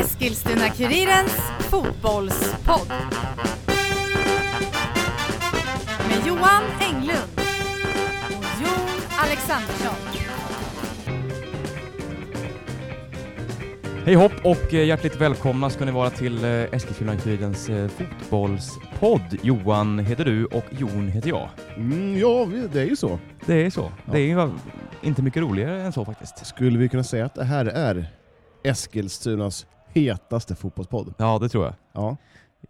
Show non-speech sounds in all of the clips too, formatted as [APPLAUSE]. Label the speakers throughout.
Speaker 1: Eskilstuna-Kurirens fotbollspodd. Med Johan Englund och Jon Alexandersson.
Speaker 2: Hej hopp och eh, hjärtligt välkomna ska ni vara till eh, Eskilstuna-Kurirens eh, fotbollspodd. Johan heter du och Jon heter jag.
Speaker 3: Mm, ja, vi- det är ju så.
Speaker 2: Det är så.
Speaker 3: Ja.
Speaker 2: Det är ju va- inte mycket roligare än så faktiskt.
Speaker 3: Skulle vi kunna säga att det här är Eskilstunas hetaste fotbollspodd?
Speaker 2: Ja, det tror jag.
Speaker 3: Ja,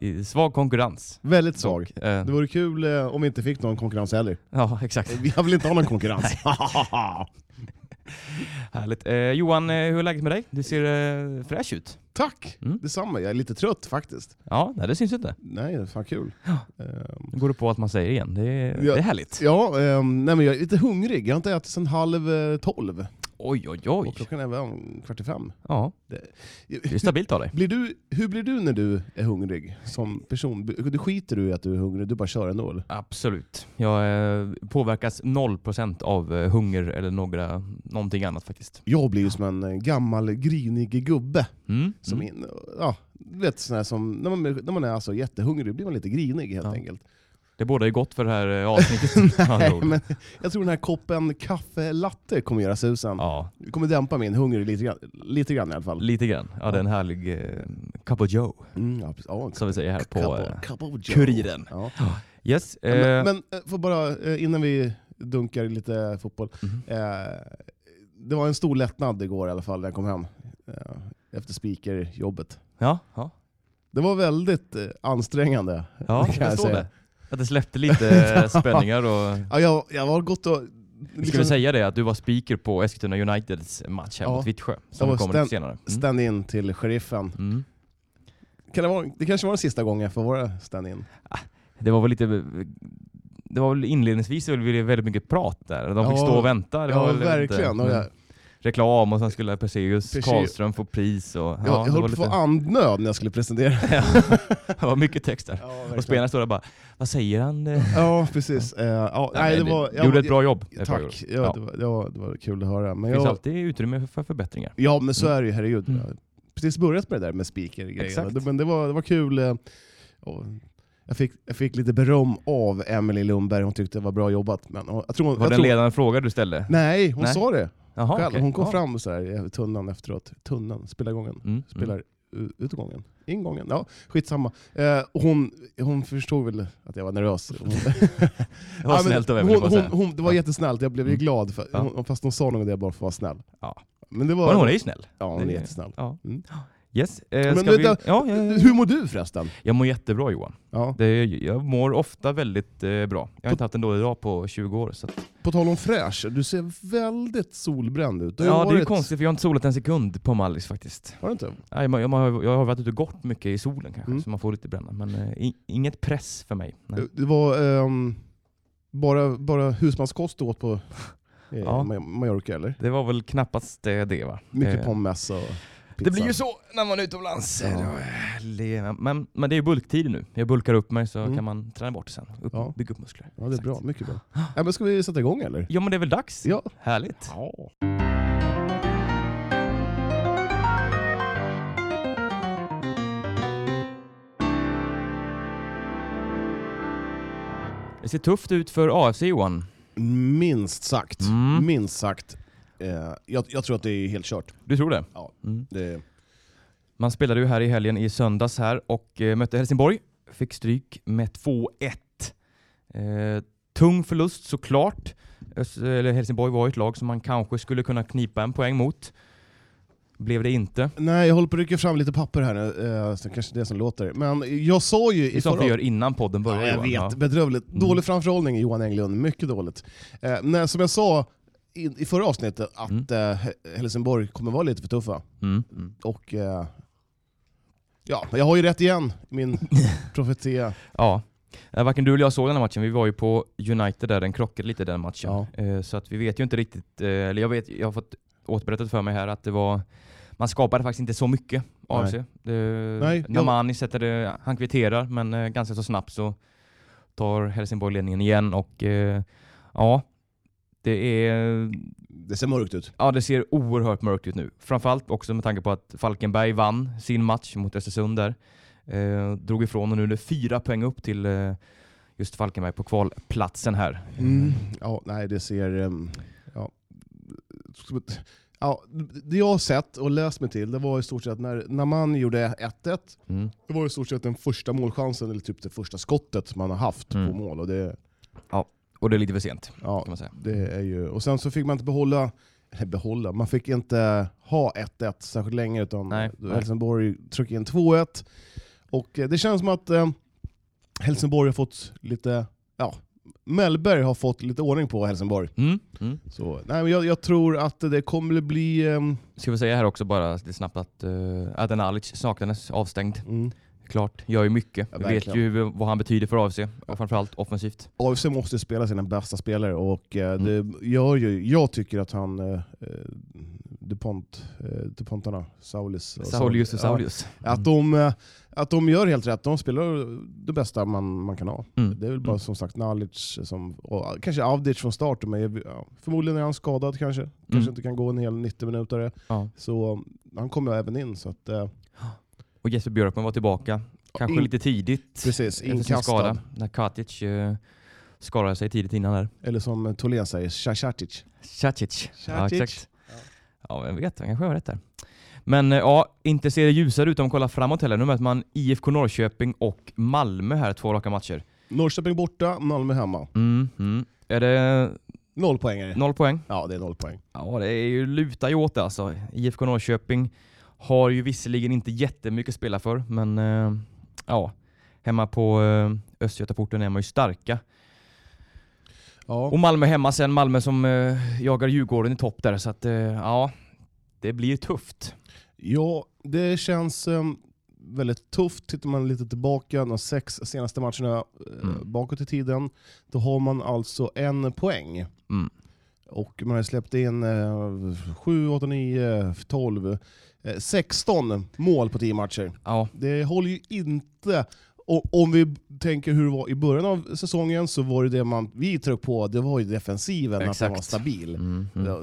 Speaker 2: I svag konkurrens.
Speaker 3: väldigt svag.
Speaker 2: Eh,
Speaker 3: Det vore kul eh, om vi inte fick någon konkurrens heller.
Speaker 2: ja, exakt.
Speaker 3: Vi har väl inte ha någon konkurrens?
Speaker 2: [LAUGHS] Härligt. Eh, Johan, eh, hur är läget med dig? Du ser eh, fräsch ut.
Speaker 3: [LAUGHS] Tack!
Speaker 2: Mm.
Speaker 3: Detsamma, jag är lite trött faktiskt.
Speaker 2: Ja, nej, det syns inte.
Speaker 3: Nej, fan kul. Ehm,
Speaker 2: Nu går du på att man säger igen. Det är,
Speaker 3: Ja.
Speaker 2: det är härligt.
Speaker 3: Ja, ehm, nej, men jag är lite hungrig. Jag har inte ätit sedan halv eh, tolv.
Speaker 2: Oj, oj,
Speaker 3: Och
Speaker 2: oj.
Speaker 3: klockan är väl kvart i fem.
Speaker 2: Ja, det är stabilt av dig.
Speaker 3: Blir du, hur blir du när du är hungrig som person? Du skiter du i att du är hungrig, du bara kör ändå eller?
Speaker 2: Absolut. Jag eh, påverkas 0% av eh, hunger eller några, någonting annat faktiskt.
Speaker 3: Jag blir ju som en eh, gammal grinig gubbe.
Speaker 2: Mm.
Speaker 3: Som
Speaker 2: mm.
Speaker 3: in, ja, du vet, sån här som, när, man, när man är alltså jättehungrig blir man lite grinig helt
Speaker 2: Ja.
Speaker 3: enkelt.
Speaker 2: Det borde ju gott för det här eh,
Speaker 3: [LAUGHS]
Speaker 2: avsnittet. med andra ord.
Speaker 3: men jag tror den här koppen kaffe latte kommer göra susen.
Speaker 2: Ja,
Speaker 3: Det kommer dämpa min hunger lite grann, lite grann i alla fall.
Speaker 2: lite grann. Ja, det är en härlig eh, cup of joe,
Speaker 3: Mm, ja, precis. ja,
Speaker 2: som vi säger här på eh,
Speaker 3: cup, cup of joe.
Speaker 2: Kuriren.
Speaker 3: Ja.
Speaker 2: Yes. Eh,
Speaker 3: Men, men eh, får bara, eh, innan vi dunkar i lite fotboll.
Speaker 2: mhm.
Speaker 3: Eh, det var en stor lättnad igår i alla fall när jag kom hem. Eh, efter speakerjobbet.
Speaker 2: Ja, ja,
Speaker 3: Det var väldigt eh, ansträngande.
Speaker 2: ja
Speaker 3: Det kan
Speaker 2: jag
Speaker 3: jag
Speaker 2: förstår
Speaker 3: säga.
Speaker 2: det. Att det släppte lite
Speaker 3: [LAUGHS]
Speaker 2: eh, spänningar och...
Speaker 3: Ja, jag, jag var gott och... Liksom-
Speaker 2: Ska vi säga det, att du var speaker på Eskilstuna Uniteds match här
Speaker 3: Ja.
Speaker 2: mot Vittsjö, som
Speaker 3: Jag var
Speaker 2: kommer lite senare. Mm.
Speaker 3: stand-in till sheriffen.
Speaker 2: Mm.
Speaker 3: Kan det, vara, det kanske var den sista gången jag får vara stand-in.
Speaker 2: Det var väl lite... Det var väl inledningsvis så blev det väldigt mycket prat där. De fick
Speaker 3: Ja,
Speaker 2: stå och vänta. Det
Speaker 3: Ja,
Speaker 2: var väl
Speaker 3: verkligen.
Speaker 2: Lite,
Speaker 3: Och
Speaker 2: mm,
Speaker 3: jag
Speaker 2: Reklam och sen skulle Perseus
Speaker 3: Perseus-
Speaker 2: Karlström få pris. Och, ja,
Speaker 3: jag, jag
Speaker 2: det var
Speaker 3: höll på att få
Speaker 2: [LAUGHS]
Speaker 3: andnöd när jag skulle presentera.
Speaker 2: det var mycket text där.
Speaker 3: Ja,
Speaker 2: och spelarna står där bara, vad säger han? Det-
Speaker 3: ja precis. Eh, ja, nej, det var, jag,
Speaker 2: gjorde ett bra jobb.
Speaker 3: jag,
Speaker 2: Ett bra jobb.
Speaker 3: Tack. Ja,
Speaker 2: Ja.
Speaker 3: det, var, det, var, det var kul att höra. Men
Speaker 2: Det finns
Speaker 3: jag,
Speaker 2: alltid utrymme för förbättringar.
Speaker 3: ja, men så är det ju. Herregud.
Speaker 2: Mm.
Speaker 3: Jag har precis börjat med det där med speaker-grejen.
Speaker 2: Exakt.
Speaker 3: Det- Men det var, det var kul. eh, och Jag fick, jag fick lite beröm av Emelie Lundberg, hon tyckte det var bra jobbat. Men hon- jag tror, hon-
Speaker 2: Var
Speaker 3: jag
Speaker 2: det en
Speaker 3: tror,
Speaker 2: ledande fråga du ställde?
Speaker 3: Nej, hon
Speaker 2: Nej.
Speaker 3: sa det.
Speaker 2: Jaha,
Speaker 3: själv.
Speaker 2: okej.
Speaker 3: Hon kom
Speaker 2: Ja.
Speaker 3: fram så här, i tunnan efteråt. Tunnan, spelargången.
Speaker 2: Mm,
Speaker 3: Spelar
Speaker 2: mm.
Speaker 3: u- utgången. Ingången. Ja, skitsamma. Eh, och hon, hon förstod väl att jag
Speaker 2: [LAUGHS]
Speaker 3: var nervös. Hon,
Speaker 2: Det var
Speaker 3: Ja, men
Speaker 2: snällt av Emelie
Speaker 3: hon,
Speaker 2: får jag
Speaker 3: hon,
Speaker 2: säga.
Speaker 3: hon, Det var jättesnällt, jag blev ju
Speaker 2: Mm.
Speaker 3: glad. För,
Speaker 2: Ja.
Speaker 3: hon, fast hon sa något där bara för att vara snäll.
Speaker 2: Ja.
Speaker 3: Men det var,
Speaker 2: Men Hon är ju snäll.
Speaker 3: ja, hon
Speaker 2: det-
Speaker 3: är jättesnäll.
Speaker 2: Ja.
Speaker 3: Mm.
Speaker 2: Yes. Eh,
Speaker 3: Men
Speaker 2: ska vi... ja,
Speaker 3: vänta.
Speaker 2: ja, ja.
Speaker 3: Hur mår du förresten?
Speaker 2: Jag mår jättebra Johan.
Speaker 3: Ja.
Speaker 2: Det, jag mår ofta väldigt eh, bra. Jag har inte haft en dålig dag på 20 år. Så att,
Speaker 3: På tal om fräsch, du ser väldigt solbränd ut. Du har ju
Speaker 2: ja, det är ju
Speaker 3: varit-
Speaker 2: konstigt för jag har inte solat en sekund på Mallis faktiskt.
Speaker 3: Har du inte?
Speaker 2: Nej, man, jag, har- jag har varit ute och gått mycket i solen kanske,
Speaker 3: Mm.
Speaker 2: så man får lite bränna. Men eh, i, inget press för mig. Nej.
Speaker 3: Det var ehm, bara, bara husmanskost du åt på eh,
Speaker 2: Ja. Eh.
Speaker 3: Ma- Mallorca eller?
Speaker 2: Det var väl knappast eh, det va?
Speaker 3: Mycket
Speaker 2: Eh,
Speaker 3: pommes och
Speaker 2: Det
Speaker 3: pizza.
Speaker 2: blir ju så när man är utomlands.
Speaker 3: Ja.
Speaker 2: Eh, det- Men, men det är ju bulktider nu. Jag bulkar upp mig så
Speaker 3: Mm.
Speaker 2: kan man träna bort det sen. Upp,
Speaker 3: Ja.
Speaker 2: Bygga upp muskler.
Speaker 3: Ja, det är
Speaker 2: Exakt.
Speaker 3: bra. Mycket bra. Ja, men ska vi sätta igång eller?
Speaker 2: Ja men det är väl dags?
Speaker 3: Ja.
Speaker 2: Härligt.
Speaker 3: ja.
Speaker 2: Det ser tufft ut för AFC Johan.
Speaker 3: Minst sagt.
Speaker 2: Mm.
Speaker 3: Minst sagt. Eh, jag, jag tror att det är helt kört.
Speaker 2: Du tror det?
Speaker 3: Ja.
Speaker 2: Mm.
Speaker 3: Det,
Speaker 2: Man spelade ju här i helgen i söndags här och eh, mötte Helsingborg. Fick stryk med 2-1. Eh, tung förlust såklart. Ös- eller Helsingborg var ju ett lag som man kanske skulle kunna knipa en poäng mot. Blev det inte.
Speaker 3: nej, jag håller på att rycka fram lite papper här nu, eh, så kanske det är som låter. Men jag sa ju
Speaker 2: Det
Speaker 3: i
Speaker 2: är sånt vi
Speaker 3: förra...
Speaker 2: gör innan podden börjar
Speaker 3: Ja, jag
Speaker 2: Johan.
Speaker 3: vet,
Speaker 2: Ja.
Speaker 3: bedrövligt.
Speaker 2: Mm.
Speaker 3: Dålig framförhållning Johan Englund, mycket dåligt. Eh, nej, som jag sa i, i förra avsnittet, att
Speaker 2: Mm.
Speaker 3: eh, Helsingborg kommer vara lite för tuffa.
Speaker 2: Mm. Mm.
Speaker 3: Och eh, ja, jag har ju rätt igen, [LAUGHS] min profetia.
Speaker 2: Ja. Eh, Varken du eller jag såg den här matchen. Vi var ju på United där, den krockade lite den matchen. Eh, Så att vi vet ju inte riktigt, eh, eller jag, vet, jag har fått återberättat för mig här att det var, man skapade faktiskt inte så mycket AFC.
Speaker 3: Nej,
Speaker 2: Det-
Speaker 3: jag-
Speaker 2: Namani sätter det, han kvitterar men eh, ganska så snabbt så tar Helsingborg ledningen igen och eh, ja, det är,
Speaker 3: Det ser mörkt ut.
Speaker 2: Ja, det ser oerhört mörkt ut nu. Framförallt också med tanke på att Falkenberg vann sin match mot Östersund där. Eh, drog ifrån och nu är det fyra poäng upp till eh, just Falkenberg på kvalplatsen här.
Speaker 3: Mm. Ja, nej, det ser... ehm, Ja. som ett- Ja, det jag har sett och läst mig till, det var i stort sett när Naman gjorde 1-1,
Speaker 2: Mm.
Speaker 3: det var i stort sett den första målchansen, eller typ det första skottet man har haft
Speaker 2: Mm.
Speaker 3: på mål. Och det,
Speaker 2: Och det är lite för sent
Speaker 3: ja,
Speaker 2: kan man säga.
Speaker 3: det är ju, och sen så fick man inte behålla, eller behålla, man fick inte ha 1-1 särskilt länge utan
Speaker 2: Nej, nej.
Speaker 3: Helsingborg tryckte in 2-1. Och eh, det känns som att eh, Helsingborg har fått lite, ja, Mellberg har fått lite ordning på Helsingborg.
Speaker 2: Mm. Mm.
Speaker 3: Så, nej, men jag, jag tror att det kommer bli... ehm,
Speaker 2: Ska vi säga här också bara lite snabbt att eh, Adnan Alic saknades, avstängd.
Speaker 3: mm,
Speaker 2: Klart, gör ju mycket.
Speaker 3: Ja,
Speaker 2: vi vet ju
Speaker 3: verkligen.
Speaker 2: hur- vad han betyder för AFC och framförallt offensivt.
Speaker 3: AFC måste spela sina bästa spelare och eh,
Speaker 2: Mm.
Speaker 3: det gör ju, jag tycker att han, eh, eh, DuPont, eh, DuPontarna, Saulis och
Speaker 2: Saulius och
Speaker 3: ja,
Speaker 2: Saulius.
Speaker 3: Att
Speaker 2: Mm.
Speaker 3: de, eh, att de gör helt rätt. De spelar det bästa man, man kan ha.
Speaker 2: Mm.
Speaker 3: Det är väl bara
Speaker 2: Mm.
Speaker 3: som sagt Nalic, som, och kanske Avdic från start, men ja, förmodligen är han skadad kanske. Kanske
Speaker 2: Mm.
Speaker 3: inte kan gå en hel 90 minuter.
Speaker 2: Ja.
Speaker 3: Så um, han kommer även in. Så att, eh,
Speaker 2: Mm. Och Jesper Björkman var tillbaka. Kanske
Speaker 3: in-
Speaker 2: lite tidigt.
Speaker 3: precis,
Speaker 2: Efter sin skada.
Speaker 3: inkastad.
Speaker 2: När Katic eh, skadade sig tidigt innan där.
Speaker 3: Eller som eh, Tholén säger, Shachatic.
Speaker 2: Cacic. Ja,
Speaker 3: Cacic.
Speaker 2: exakt.
Speaker 3: Ja.
Speaker 2: Ja, vem vet, han kanske har rätt där. Men eh, ja, inte ser det ljusare ut om man kollar framåt heller. Nu möter man IFK Norrköping och Malmö här, två raka matcher.
Speaker 3: Norrköping borta, Malmö hemma.
Speaker 2: Mm, mm. Är det
Speaker 3: Noll poängare.
Speaker 2: noll poäng?
Speaker 3: Ja, det är noll poäng.
Speaker 2: Ja, det är ju lutar ju åt det alltså. IFK Norrköping har ju visserligen inte jättemycket att spela för, men eh, ja, hemma på eh, Östgötaporten är man ju starka.
Speaker 3: Ja.
Speaker 2: Och Malmö hemma sen, Malmö som eh, jagar Djurgården i topp där, så att eh, ja, det blir tufft.
Speaker 3: ja, det känns ehm, väldigt tufft. Tittar man lite tillbaka, de sex senaste matcherna eh,
Speaker 2: Mm.
Speaker 3: bakåt i tiden, då har man alltså en poäng.
Speaker 2: Mm.
Speaker 3: Och man har släppt in eh, 7, 8, 9, 12, eh, 16 mål på 10 matcher.
Speaker 2: Ja,
Speaker 3: Det håller ju inte. Och om vi tänker hur det var i början av säsongen så var det det man, vi tryckte på, det var ju defensiven, att den var
Speaker 2: Exakt.
Speaker 3: stabil.
Speaker 2: mm, mm.
Speaker 3: Ja,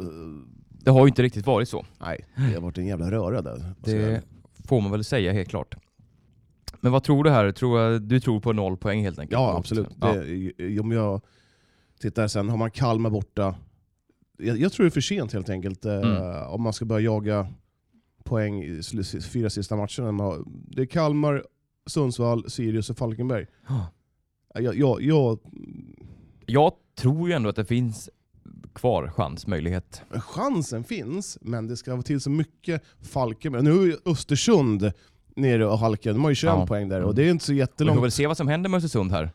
Speaker 2: det har ju inte riktigt varit så.
Speaker 3: Nej, det har varit en jävla röra där.
Speaker 2: Det får man väl säga helt klart. Men vad tror du här? Tror jag, du tror på noll poäng helt enkelt?
Speaker 3: Ja, absolut.
Speaker 2: Ja.
Speaker 3: Det, om jag tittar sen, har man Kalmar borta. Jag, jag tror det är för sent helt enkelt, eh,
Speaker 2: Mm.
Speaker 3: om man ska börja jaga poäng i sl- fyra sista matcherna. Man har- Det är Kalmar, Sundsvall, Sirius och Falkenberg.
Speaker 2: Ja.
Speaker 3: Jag, jag, jag,
Speaker 2: Jag tror ju ändå att det finns kvar chans, möjlighet.
Speaker 3: chansen finns, men det ska till så mycket Falkenberg. Nu är ju Östersund nere och halkar, de har ju 21
Speaker 2: Ja.
Speaker 3: poäng där
Speaker 2: Mm.
Speaker 3: och det är inte så
Speaker 2: Vi får
Speaker 3: jättelångt
Speaker 2: väl se vad som händer med Östersund här.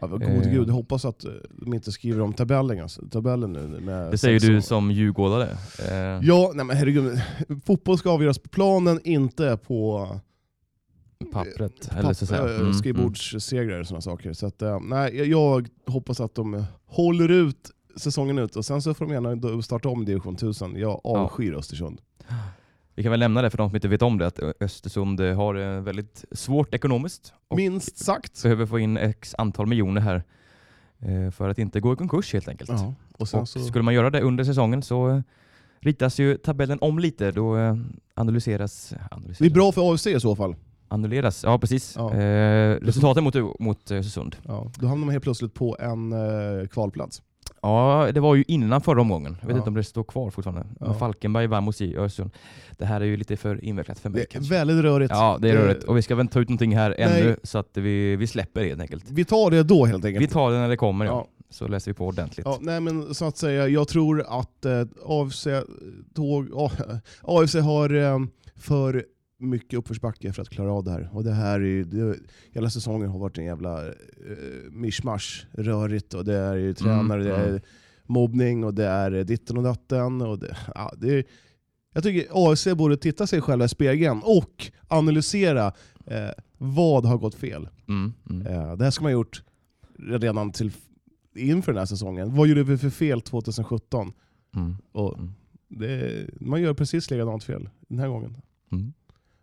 Speaker 3: Ja, men
Speaker 2: Eh.
Speaker 3: god gud, jag hoppas att eh, de inte skriver om tabellen, alltså, tabellen nu. Med
Speaker 2: Det säger du
Speaker 3: Samsung.
Speaker 2: som djurgårdare. Eh,
Speaker 3: Ja, nej men herregud. Fotboll ska avgöras på planen, inte på
Speaker 2: pappret, eller så att säga.
Speaker 3: eh, papp- eh,
Speaker 2: Mm,
Speaker 3: skrivbordssegrar och sådana saker. Så att, eh, nej, jag- jag hoppas att de håller ut säsongen ut och sen så får de gärna då starta om division 1000. Jag avskyr Östersund.
Speaker 2: mm. Vi kan väl nämna det för de som inte vet om det, att Östersund eh, har det väldigt svårt ekonomiskt. Och
Speaker 3: Minst sagt.
Speaker 2: behöver få in x antal miljoner här eh, för att inte gå i konkurs helt enkelt.
Speaker 3: Ja, och sen
Speaker 2: Och
Speaker 3: så,
Speaker 2: skulle man göra det under säsongen så eh, ritas ju tabellen om lite. Då eh, analyseras... analyseras
Speaker 3: det är bra för AFC i så fall.
Speaker 2: Annulleras, ja precis.
Speaker 3: Ja.
Speaker 2: Eh, resultaten mot, mot eh, Östersund.
Speaker 3: Ja, då hamnar man helt plötsligt på en eh, kvalplats.
Speaker 2: Ja, det var ju innan förra omgången. Jag vet
Speaker 3: Ja.
Speaker 2: inte om det står kvar fortfarande.
Speaker 3: Ja.
Speaker 2: Men Falkenberg vann mot J- Östersund. Det här är ju lite för invecklat för mig
Speaker 3: Det är
Speaker 2: kanske.
Speaker 3: väldigt rörigt.
Speaker 2: Ja, det är
Speaker 3: Det-
Speaker 2: rörigt. Och vi ska väl ta ut någonting här
Speaker 3: Nej.
Speaker 2: ännu så att vi, vi släpper det helt enkelt.
Speaker 3: Vi tar det då helt enkelt.
Speaker 2: Vi tar det när det kommer ja.
Speaker 3: Ja.
Speaker 2: Så läser vi på ordentligt.
Speaker 3: Ja, nej men så att säga, jag tror att eh, AFC, tåg, [LAUGHS] A- AFC har eh, för mycket uppförsbacke för att klara av det här. Och det här är ju, det, hela säsongen har varit en jävla eh, mischmasch, rörigt och det är ju tränare, det är
Speaker 2: mm.
Speaker 3: mobbning och det är ditten och datten. Och det, ja, det är, jag tycker AFC borde titta sig själva i spegeln och analysera eh, vad har gått fel.
Speaker 2: Mm, mm.
Speaker 3: Eh, Det här ska man ha gjort redan till, inför den här säsongen. Vad gjorde vi för fel 2017?
Speaker 2: Mm.
Speaker 3: Och
Speaker 2: Mm.
Speaker 3: det, man gör precis likadant fel den här gången.
Speaker 2: Mm.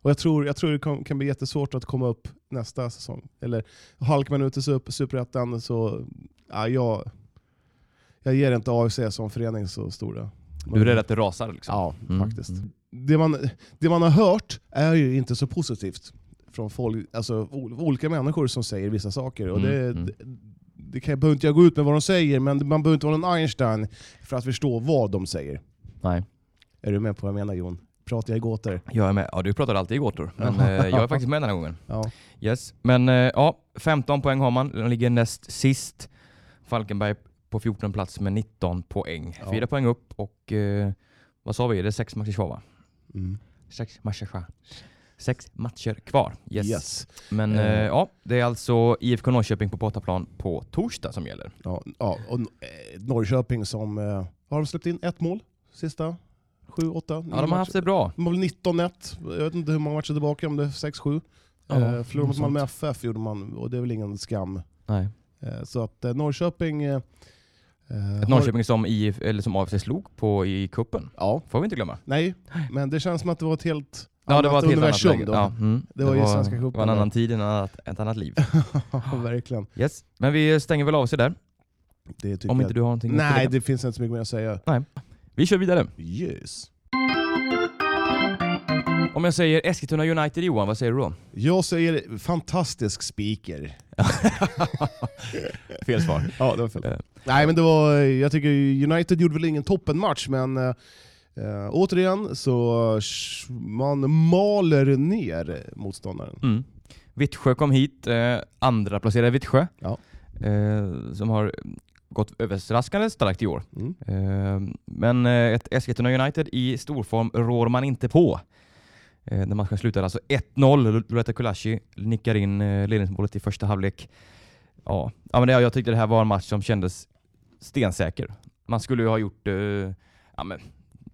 Speaker 3: Och jag tror, jag tror det kan, kan bli jättesvårt att komma upp nästa säsong. Eller halkar man ut i sup- superettan så... Ja, jag, jag ger inte AFC som förening så stora.
Speaker 2: Du är rädd att det rasar liksom?
Speaker 3: Ja,
Speaker 2: Mm,
Speaker 3: faktiskt.
Speaker 2: mm.
Speaker 3: Det, man, det man har hört är ju inte så positivt från folk, alltså, ol, olika människor som säger vissa saker. Och
Speaker 2: Mm,
Speaker 3: det,
Speaker 2: mm.
Speaker 3: det, det kan, behöver inte jag gå ut med vad de säger, men man behöver inte vara någon Einstein för att förstå vad de säger.
Speaker 2: Nej.
Speaker 3: Är du med på vad jag menar Jon? Pratar jag i gåtor?
Speaker 2: Jag är med. Ja, du pratar alltid i gåtor. Men eh,
Speaker 3: [LAUGHS]
Speaker 2: jag är faktiskt med den här gången.
Speaker 3: Ja.
Speaker 2: Yes. Men eh, ja, 15 poäng har man. De ligger näst sist. Falkenberg på 14 plats med 19 poäng.
Speaker 3: Ja.
Speaker 2: Fyra poäng upp och eh, vad sa vi? Det är sex matcher kvar va?
Speaker 3: Mm.
Speaker 2: Sex matcher kvar. Sex matcher kvar. Yes.
Speaker 3: yes.
Speaker 2: Men
Speaker 3: Eh.
Speaker 2: eh, ja, det är alltså IFK Norrköping på bortaplan på torsdag som gäller.
Speaker 3: Ja, ja, och eh, Norrköping som... eh, Har de släppt in ett mål sista? Sju, åtta?
Speaker 2: Ja, de
Speaker 3: nio matcher?
Speaker 2: har haft det bra.
Speaker 3: De var väl 19-1, jag vet inte hur många matcher tillbaka, om det är 6-7.
Speaker 2: Ja,
Speaker 3: eh, förlorade
Speaker 2: något
Speaker 3: mot Malmö FF gjorde man, och det är väl ingen skam.
Speaker 2: Nej.
Speaker 3: Eh, så att eh, Norrköping... Eh, eh,
Speaker 2: Ett Norrköping som, IF, eller som AFC slog på i kuppen.
Speaker 3: Ja,
Speaker 2: Får vi inte glömma.
Speaker 3: nej, men det känns som att det var ett helt
Speaker 2: Ja, det var ett helt annat
Speaker 3: universum
Speaker 2: läge.
Speaker 3: då.
Speaker 2: Ja, mm.
Speaker 3: Det var ju Svenska cupen
Speaker 2: Det var en
Speaker 3: där.
Speaker 2: annan tid, en annat, ett annat liv.
Speaker 3: [LAUGHS] Ja, verkligen.
Speaker 2: Yes. Men vi stänger väl av sig där,
Speaker 3: Det tycker
Speaker 2: om inte
Speaker 3: jag.
Speaker 2: du har någonting att
Speaker 3: Nej,
Speaker 2: tillägga.
Speaker 3: det finns inte så mycket mer att säga.
Speaker 2: Vi kör vidare.
Speaker 3: Yes.
Speaker 2: Om jag säger Eskilstuna United Johan, vad säger du då?
Speaker 3: Jag säger fantastisk speaker.
Speaker 2: Fel svar.
Speaker 3: Ja, det var fel.
Speaker 2: Eh.
Speaker 3: Nej, men det var, jag tycker United gjorde väl ingen toppenmatch, men eh, eh, återigen så sh- man maler ner motståndaren.
Speaker 2: Mm. Vittsjö kom hit, eh, andra placerade Vittsjö.
Speaker 3: Ja.
Speaker 2: Eh, som har gått överraskande starkt i år.
Speaker 3: Mm.
Speaker 2: Eh, men eh, ett Eskilstuna United i storform rår man inte på. Eh, när matchen slutade alltså 1-0. Loretta Kulashi nickar in eh, ledningsmålet i första halvlek. Ja. Ja, men det, jag tyckte det här var en match som kändes stensäker. Man skulle ju ha gjort eh, ja, men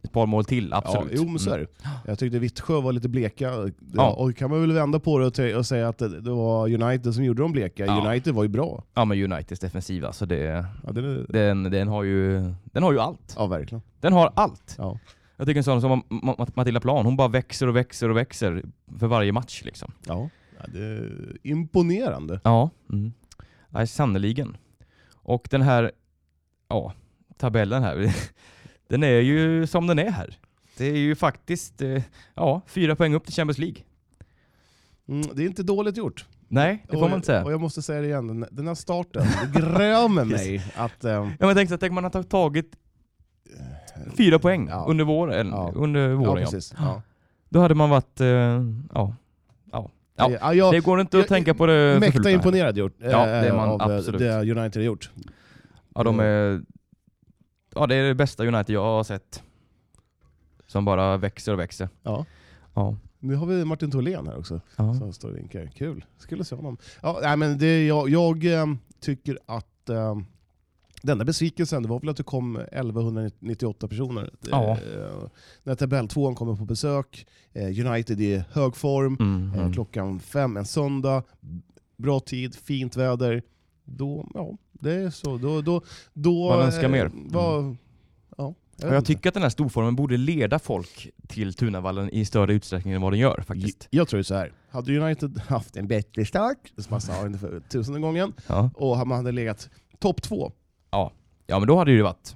Speaker 2: ett par mål till,
Speaker 3: Ja,
Speaker 2: absolut.
Speaker 3: jo, men så är
Speaker 2: Mm.
Speaker 3: det. Jag tyckte Vittsjö var lite bleka, Det-
Speaker 2: Ja.
Speaker 3: och kan man väl vända på det och, te- och säga att det det var United som gjorde dem bleka.
Speaker 2: Ja.
Speaker 3: United var ju bra.
Speaker 2: Mm, ja men Uniteds defensiv alltså, det,
Speaker 3: Ja, det är,
Speaker 2: den, den, har ju, den har ju allt.
Speaker 3: ja verkligen.
Speaker 2: Den har allt.
Speaker 3: Ja.
Speaker 2: Jag tycker en sån som Ma- Ma- Matilda Plan, hon bara växer och växer och växer för varje match liksom.
Speaker 3: Ja. Ja, det är imponerande.
Speaker 2: Ja, mm. Nej, sannoliken. Och den här ja, tabellen här, [LAUGHS] den är ju som den är här. Det är ju faktiskt eh, ja, fyra poäng upp till Champions League.
Speaker 3: Mm, det är inte dåligt gjort.
Speaker 2: Nej, det får
Speaker 3: och,
Speaker 2: man inte
Speaker 3: Och
Speaker 2: säga.
Speaker 3: jag måste säga det igen, den- den här starten,
Speaker 2: [LAUGHS]
Speaker 3: det grämer mig att... ehm,
Speaker 2: Ja, men tänk, så, tänk man har tagit fyra poäng
Speaker 3: Ja.
Speaker 2: under våren.
Speaker 3: Ja.
Speaker 2: Under
Speaker 3: Ja,
Speaker 2: våren ja,
Speaker 3: precis. Ja.
Speaker 2: Då hade man varit... Eh, ja. Ja.
Speaker 3: Det- Ja, jag,
Speaker 2: Det går inte att
Speaker 3: jag-
Speaker 2: tänka på det
Speaker 3: mäkta
Speaker 2: förflutna här.
Speaker 3: imponerad gjort, eh,
Speaker 2: Ja, det är man
Speaker 3: av eh,
Speaker 2: absolut.
Speaker 3: det United har gjort.
Speaker 2: Ja, de är, ja, det är det bästa United jag har sett. Som bara växer och växer.
Speaker 3: Ja.
Speaker 2: Ja.
Speaker 3: Nu har vi Martin Tholén här också,
Speaker 2: ja.
Speaker 3: som står och vinkar. Kul, skulle se honom. Ja, nej, men det, jag jag eh, tycker att eh, den enda besvikelsen det var väl att det kom 1198 personer.
Speaker 2: Ja.
Speaker 3: Eh, när tabelltvåan kommer på besök, eh, United i hög form,
Speaker 2: Mm,
Speaker 3: eh,
Speaker 2: mm.
Speaker 3: klockan fem en söndag, bra tid, fint väder. Då, ja, det är så. Då, då, då,
Speaker 2: Man önskar
Speaker 3: eh,
Speaker 2: mer.
Speaker 3: Vad, ja,
Speaker 2: Och jag
Speaker 3: vet inte.
Speaker 2: tycker att den här storformen borde leda folk till Tunavallen i större utsträckning än vad den gör faktiskt.
Speaker 3: Jag tror det är så här. hade United haft en bättre start, som man sa för tusende gången,
Speaker 2: Ja.
Speaker 3: och man hade legat topp två,
Speaker 2: ja, men då hade det ju varit...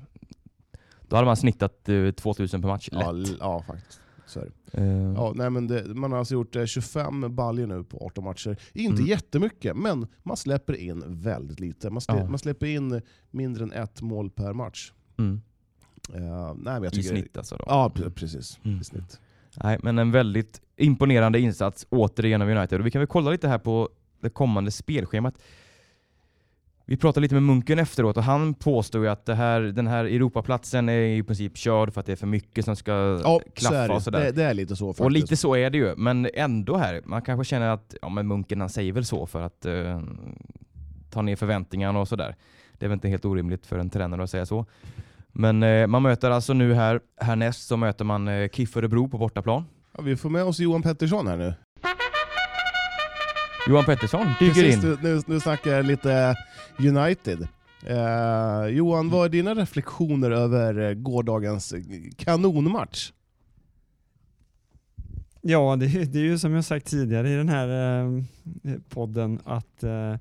Speaker 2: Då hade man snittat eh, 2000 per match.
Speaker 3: ja,
Speaker 2: Lätt.
Speaker 3: l- ja faktiskt. Så är det.
Speaker 2: Eh,
Speaker 3: Ja, nej, men det, man har alltså gjort eh, 25 baljer nu på 18 matcher. Inte
Speaker 2: Mm.
Speaker 3: jättemycket, men man släpper in väldigt lite. Man, slä,
Speaker 2: Ja.
Speaker 3: man släpper in mindre än ett mål per match.
Speaker 2: mm.
Speaker 3: Eh, nej, men jag
Speaker 2: I
Speaker 3: tycker,
Speaker 2: snitt alltså. Då.
Speaker 3: Ja, pre- precis.
Speaker 2: Mm.
Speaker 3: I snitt.
Speaker 2: Nej, men en väldigt imponerande insats återigen av United. Och vi kan väl kolla lite här på det kommande spelschemat. Vi pratade lite med Munken efteråt och han påstod ju att det här, den här Europaplatsen är i princip körd för att det är för mycket som ska
Speaker 3: Ja, så är
Speaker 2: klaffa
Speaker 3: det.
Speaker 2: och sådär.
Speaker 3: Det, det är lite så faktiskt.
Speaker 2: Och lite så är det ju, men ändå här. Man kanske känner att ja, men munken han säger väl så för att eh, ta ner förväntningarna och sådär. Det är väl inte helt orimligt för en tränare att säga så. Men eh, man möter alltså nu här härnäst så möter man eh, KIF Örebro på bortaplan.
Speaker 3: ja, vi får med oss Johan Pettersson här nu.
Speaker 2: Johan Pettersson dyker
Speaker 3: Precis,
Speaker 2: in.
Speaker 3: Nu, nu, nu snackar jag lite United. Eh, Johan, vad är dina reflektioner över eh, gårdagens kanonmatch?
Speaker 4: Ja, det, är- det är ju som jag sagt tidigare i den här eh, podden att eh,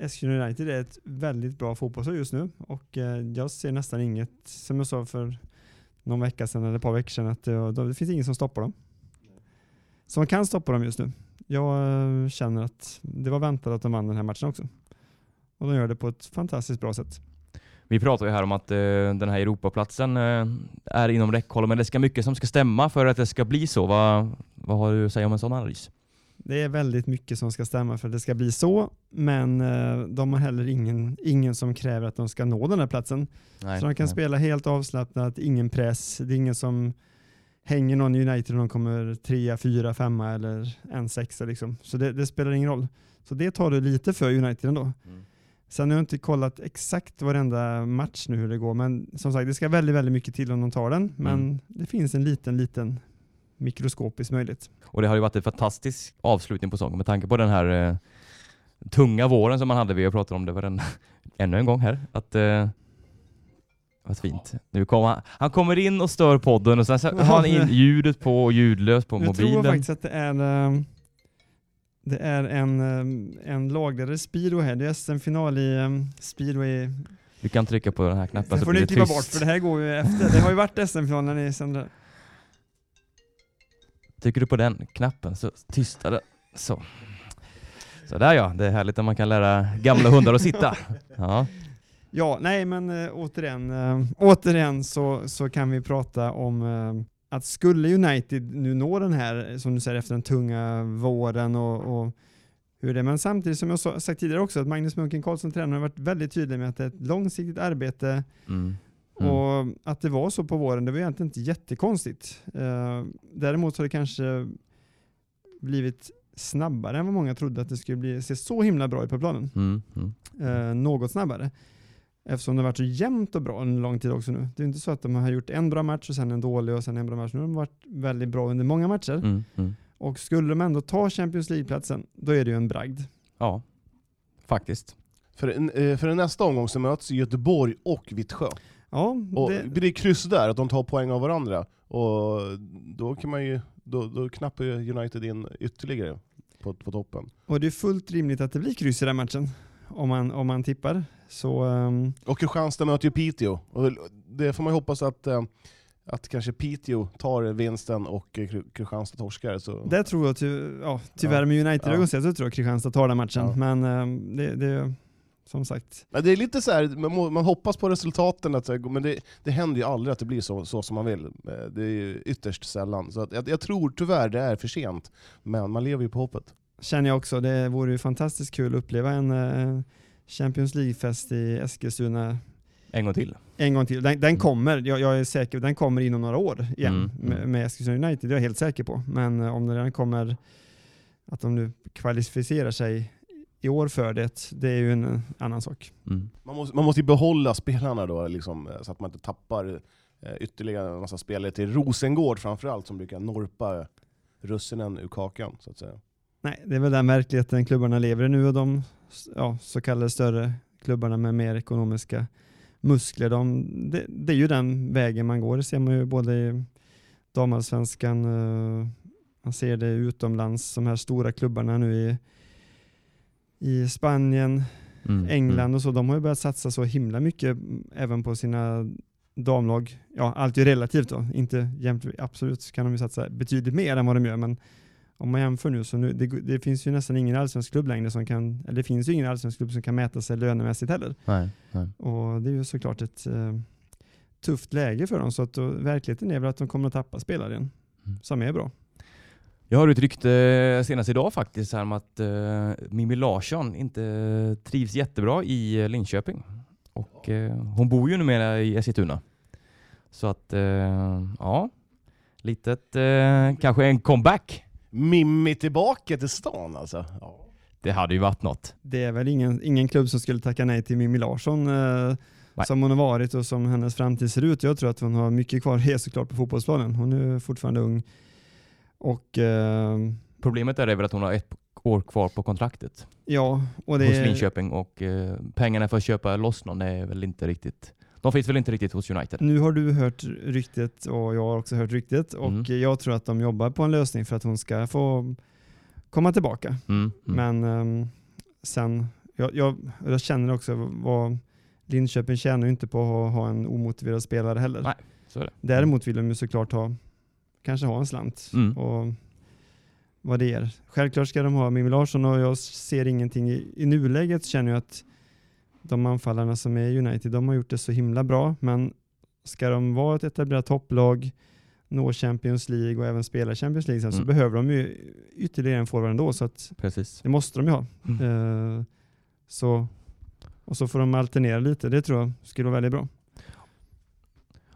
Speaker 4: Eskilstuna United är ett väldigt bra fotbollslag just nu och eh, jag ser nästan inget, som jag sa för någon vecka sedan eller ett par veckor sedan att eh, de- det finns ingen som stoppar dem. Som kan stoppa dem just nu. Jag eh, känner att det var väntat att de vann den här matchen också. Och de gör det på ett fantastiskt bra sätt.
Speaker 2: Vi pratar ju här om att eh, den här Europaplatsen eh, är inom räckhåll, men det ska mycket som ska stämma för att det ska bli så. Vad, vad har du att säga om en sån analys?
Speaker 4: Det är väldigt mycket som ska stämma för att det ska bli så, men eh, de har heller ingen, ingen som kräver att de ska nå den här platsen.
Speaker 2: Nej,
Speaker 4: så de kan
Speaker 2: nej.
Speaker 4: spela helt avslappnat, ingen press. Det är ingen som hänger någon i United och de kommer trea, fyra, femma eller en sexa. Liksom. Så det, det spelar ingen roll. Så det tar du lite för United ändå.
Speaker 2: Mm.
Speaker 4: Sen har jag inte kollat exakt varenda match nu hur det går, men som sagt det ska väldigt, väldigt mycket till om de tar den. Men
Speaker 2: Mm.
Speaker 4: det finns en liten, liten mikroskopisk möjlighet.
Speaker 2: Och det har ju varit en fantastisk avslutning på säsongen med tanke på den här eh, tunga våren som man hade. Vi har pratat om det varenda, [LAUGHS] ännu en gång här. Att, eh, vad fint. Nu kommer han, han kommer in och stör podden och sen
Speaker 4: [LAUGHS]
Speaker 2: så har han in ljudet på och ljudlöst på
Speaker 4: jag tror
Speaker 2: mobilen.
Speaker 4: faktiskt att det är, eh, det är en, eh, en lagledare Speedway här. Det är SM-final i eh, Speedway.
Speaker 2: Du kan trycka på den här knappen
Speaker 4: Sen
Speaker 2: så
Speaker 4: får
Speaker 2: blir
Speaker 4: ni
Speaker 2: det
Speaker 4: klippa
Speaker 2: tyst.
Speaker 4: bort för det här går ju efter. Det har ju varit SM-final när ni sände.
Speaker 2: Trycker du på den knappen så tystar det. Så. Så där ja, det är härligt när man kan lära gamla hundar att
Speaker 4: [LAUGHS]
Speaker 2: sitta. Ja.
Speaker 4: Ja, nej men eh, återigen, eh, återigen så, så kan vi prata om eh, att skulle United nu nå den här, eh, som du säger, efter den tunga våren och, och hur det är. Men samtidigt som jag sa, sagt tidigare också att Magnus Munken Karlsson, tränaren, har varit väldigt tydlig med att det är ett långsiktigt arbete
Speaker 2: Mm. Mm.
Speaker 4: Och att det var så på våren, det var egentligen inte jättekonstigt. Eh, däremot har det kanske blivit snabbare än vad många trodde att det skulle bli, se så himla bra ut på planen.
Speaker 2: Mm. Mm.
Speaker 4: Eh, något snabbare. Eftersom det har varit så jämnt och bra under lång tid också nu. Det är inte så att de har gjort en bra match och sen en dålig och sen en bra match. Nu har de varit väldigt bra under många matcher.
Speaker 2: Mm. Mm.
Speaker 4: Och skulle de ändå ta Champions League-platsen, då är det ju en bragd.
Speaker 2: Ja, faktiskt.
Speaker 3: För, eh, för nästa omgång så möts Göteborg och Vittsjö.
Speaker 4: Ja,
Speaker 3: Och
Speaker 4: det,
Speaker 3: blir det kryss där, att de tar poäng av varandra, och då, kan man ju, då, då knappar ju United in ytterligare på, på toppen.
Speaker 4: och det är fullt rimligt att det blir kryss i den här matchen. Om man, om man tippar. Så ehm,
Speaker 3: Och Kristianstad möter ju Piteå. Och det får man ju hoppas att, eh, att kanske Piteå tar vinsten och eh, Kri- Kristianstad torskar. Så.
Speaker 4: Där tror jag, ty, ja, tyvärr
Speaker 3: Ja.
Speaker 4: med United
Speaker 3: Ja.
Speaker 4: ögon sett så tror jag Kristianstad tar den matchen.
Speaker 3: Ja.
Speaker 4: Men ehm, det, det är som sagt,
Speaker 3: Men det är lite så här, man, må- man hoppas på resultaten, att, så här, men det, det händer ju aldrig att det blir så, så som man vill. Eh, Det är ju ytterst sällan. Så att, jag, jag tror tyvärr det är för sent, men man lever ju på hoppet.
Speaker 4: känner jag också, det vore ju fantastiskt kul att uppleva en eh, Champions League-fest i Eskilstuna
Speaker 2: En gång till.
Speaker 4: en gång till. Den, den kommer, jag, jag är säker, den kommer inom några år igen
Speaker 2: Mm, mm.
Speaker 4: Med, med Eskilstuna United, det är jag helt säker på. Men eh, om den redan kommer, att de nu kvalificerar sig i år för det, det är ju en eh, annan sak.
Speaker 2: Mm.
Speaker 3: Man måste, man måste ju behålla spelarna då, liksom, eh, så att man inte tappar eh, ytterligare en massa spelare till Rosengård framförallt, som brukar norpa russinen ur kakan. Så att säga.
Speaker 4: Nej, det är väl den verkligheten klubbarna lever i nu och de ja, så kallade större klubbarna med mer ekonomiska muskler. De, det, det är ju den vägen man går. Det ser man ju både i damallsvenskan, eh, man ser det utomlands, de här stora klubbarna nu i, i Spanien,
Speaker 2: Mm.
Speaker 4: England och så. De har ju börjat satsa så himla mycket mm, även på sina damlag. Ja, allt är ju relativt då. Inte jämt, absolut kan de ju satsa betydligt mer än vad de gör, men om man jämför nu så nu, det, det finns ju nästan ingen allsvensk klubb längre som kan, eller det finns ju ingen allsvensk klubb som kan mäta sig lönemässigt heller.
Speaker 2: Mm. Nej, nej.
Speaker 4: Och det är ju såklart ett eh, tufft läge för dem, så att då, verkligheten är väl att de kommer att tappa spelare igen,
Speaker 2: Mm.
Speaker 4: som är bra.
Speaker 2: Jag har uttryckt eh, senast idag faktiskt här om att eh, Mimmi Larsson inte trivs jättebra i eh, Linköping. Och eh, hon bor ju numera i Eskilstuna. Så att, eh, ja. Litet, eh, kanske en comeback.
Speaker 3: Mimmi tillbaka till stan alltså. Ja.
Speaker 2: Det hade ju varit något.
Speaker 4: Det är väl ingen, ingen klubb som skulle tacka nej till Mimmi Larsson eh,
Speaker 2: Nej.
Speaker 4: som hon har varit och som hennes framtid ser ut. Jag tror att hon har mycket kvar att ge såklart på fotbollsplanen. Hon är ju fortfarande ung och eh,
Speaker 2: Problemet är väl att hon har ett år kvar på kontraktet
Speaker 4: ja, och det
Speaker 2: hos
Speaker 4: är-
Speaker 2: Linköping och eh, pengarna för att köpa loss någon är väl inte riktigt... De finns väl inte riktigt hos United?
Speaker 4: Nu har du hört ryktet och jag har också hört ryktet och
Speaker 2: Mm.
Speaker 4: jag tror att de jobbar på en lösning för att hon ska få komma tillbaka.
Speaker 2: Mm, mm.
Speaker 4: Men ehm, sen, jag, jag, jag känner också vad Linköping tjänar ju inte på att ha, ha en omotiverad spelare heller.
Speaker 2: Nej. Så är det.
Speaker 4: Däremot vill de ju såklart ha, kanske ha en slant.
Speaker 2: Mm.
Speaker 4: Och vad det ger. Självklart ska de ha Mimmi Larsson och jag ser ingenting i, i nuläget känner jag att de anfallarna som är i United, de har gjort det så himla bra. Men ska de vara ett etablerat topplag, nå Champions League och även spela Champions League sen, så
Speaker 2: Mm.
Speaker 4: behöver de ju ytterligare en forward ändå. Så att
Speaker 2: Precis.
Speaker 4: det måste de ju ha.
Speaker 2: Mm.
Speaker 4: Eh, så, och så får de alternera lite. Det tror jag skulle vara väldigt bra.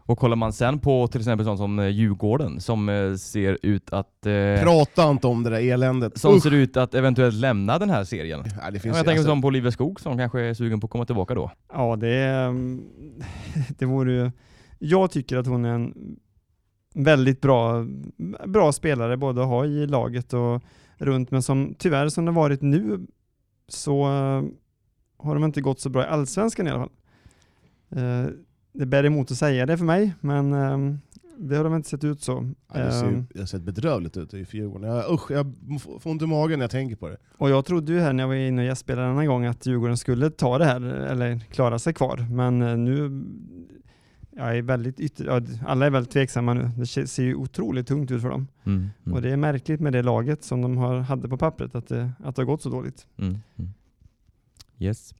Speaker 2: Och kollar man sen på till exempel sånt som eh, Djurgården som eh, ser ut att... eh,
Speaker 3: Prata inte om det där eländet.
Speaker 2: som
Speaker 3: Usch.
Speaker 2: ser ut att eventuellt lämna den här serien.
Speaker 3: Ja, det
Speaker 2: Ja,
Speaker 3: finns
Speaker 2: jag tänker
Speaker 3: alltså-
Speaker 2: som på Oliver Skog som kanske är sugen på att komma tillbaka då.
Speaker 4: Ja, det, är, mm, [LAUGHS] det vore ju... Jag tycker att hon är en väldigt bra, bra spelare både att ha i laget och runt, men som tyvärr som det har varit nu så eh, har de inte gått så bra i allsvenskan i alla fall. Eh, Det bär emot att säga det för mig, men eh, det har de inte sett ut så.
Speaker 3: Ja, det ser,
Speaker 4: Eh,
Speaker 3: ju-
Speaker 2: Ehm.
Speaker 3: det har sett bedrövligt ut i Djurgården. Jag, usch, jag f- får ont i magen när jag tänker på det.
Speaker 4: Och jag trodde ju här när jag var inne och gästspelade en annan gång att Djurgården skulle ta det här eller klara sig kvar. Men eh, nu, jag är väldigt ytter, ja, alla är väldigt tveksamma nu. Det se- ser ju otroligt tungt ut för dem.
Speaker 2: Mm,
Speaker 4: Och det är märkligt med det laget som de har, hade på pappret, att det, att det har gått så dåligt.
Speaker 2: Mm. Mm. Yes.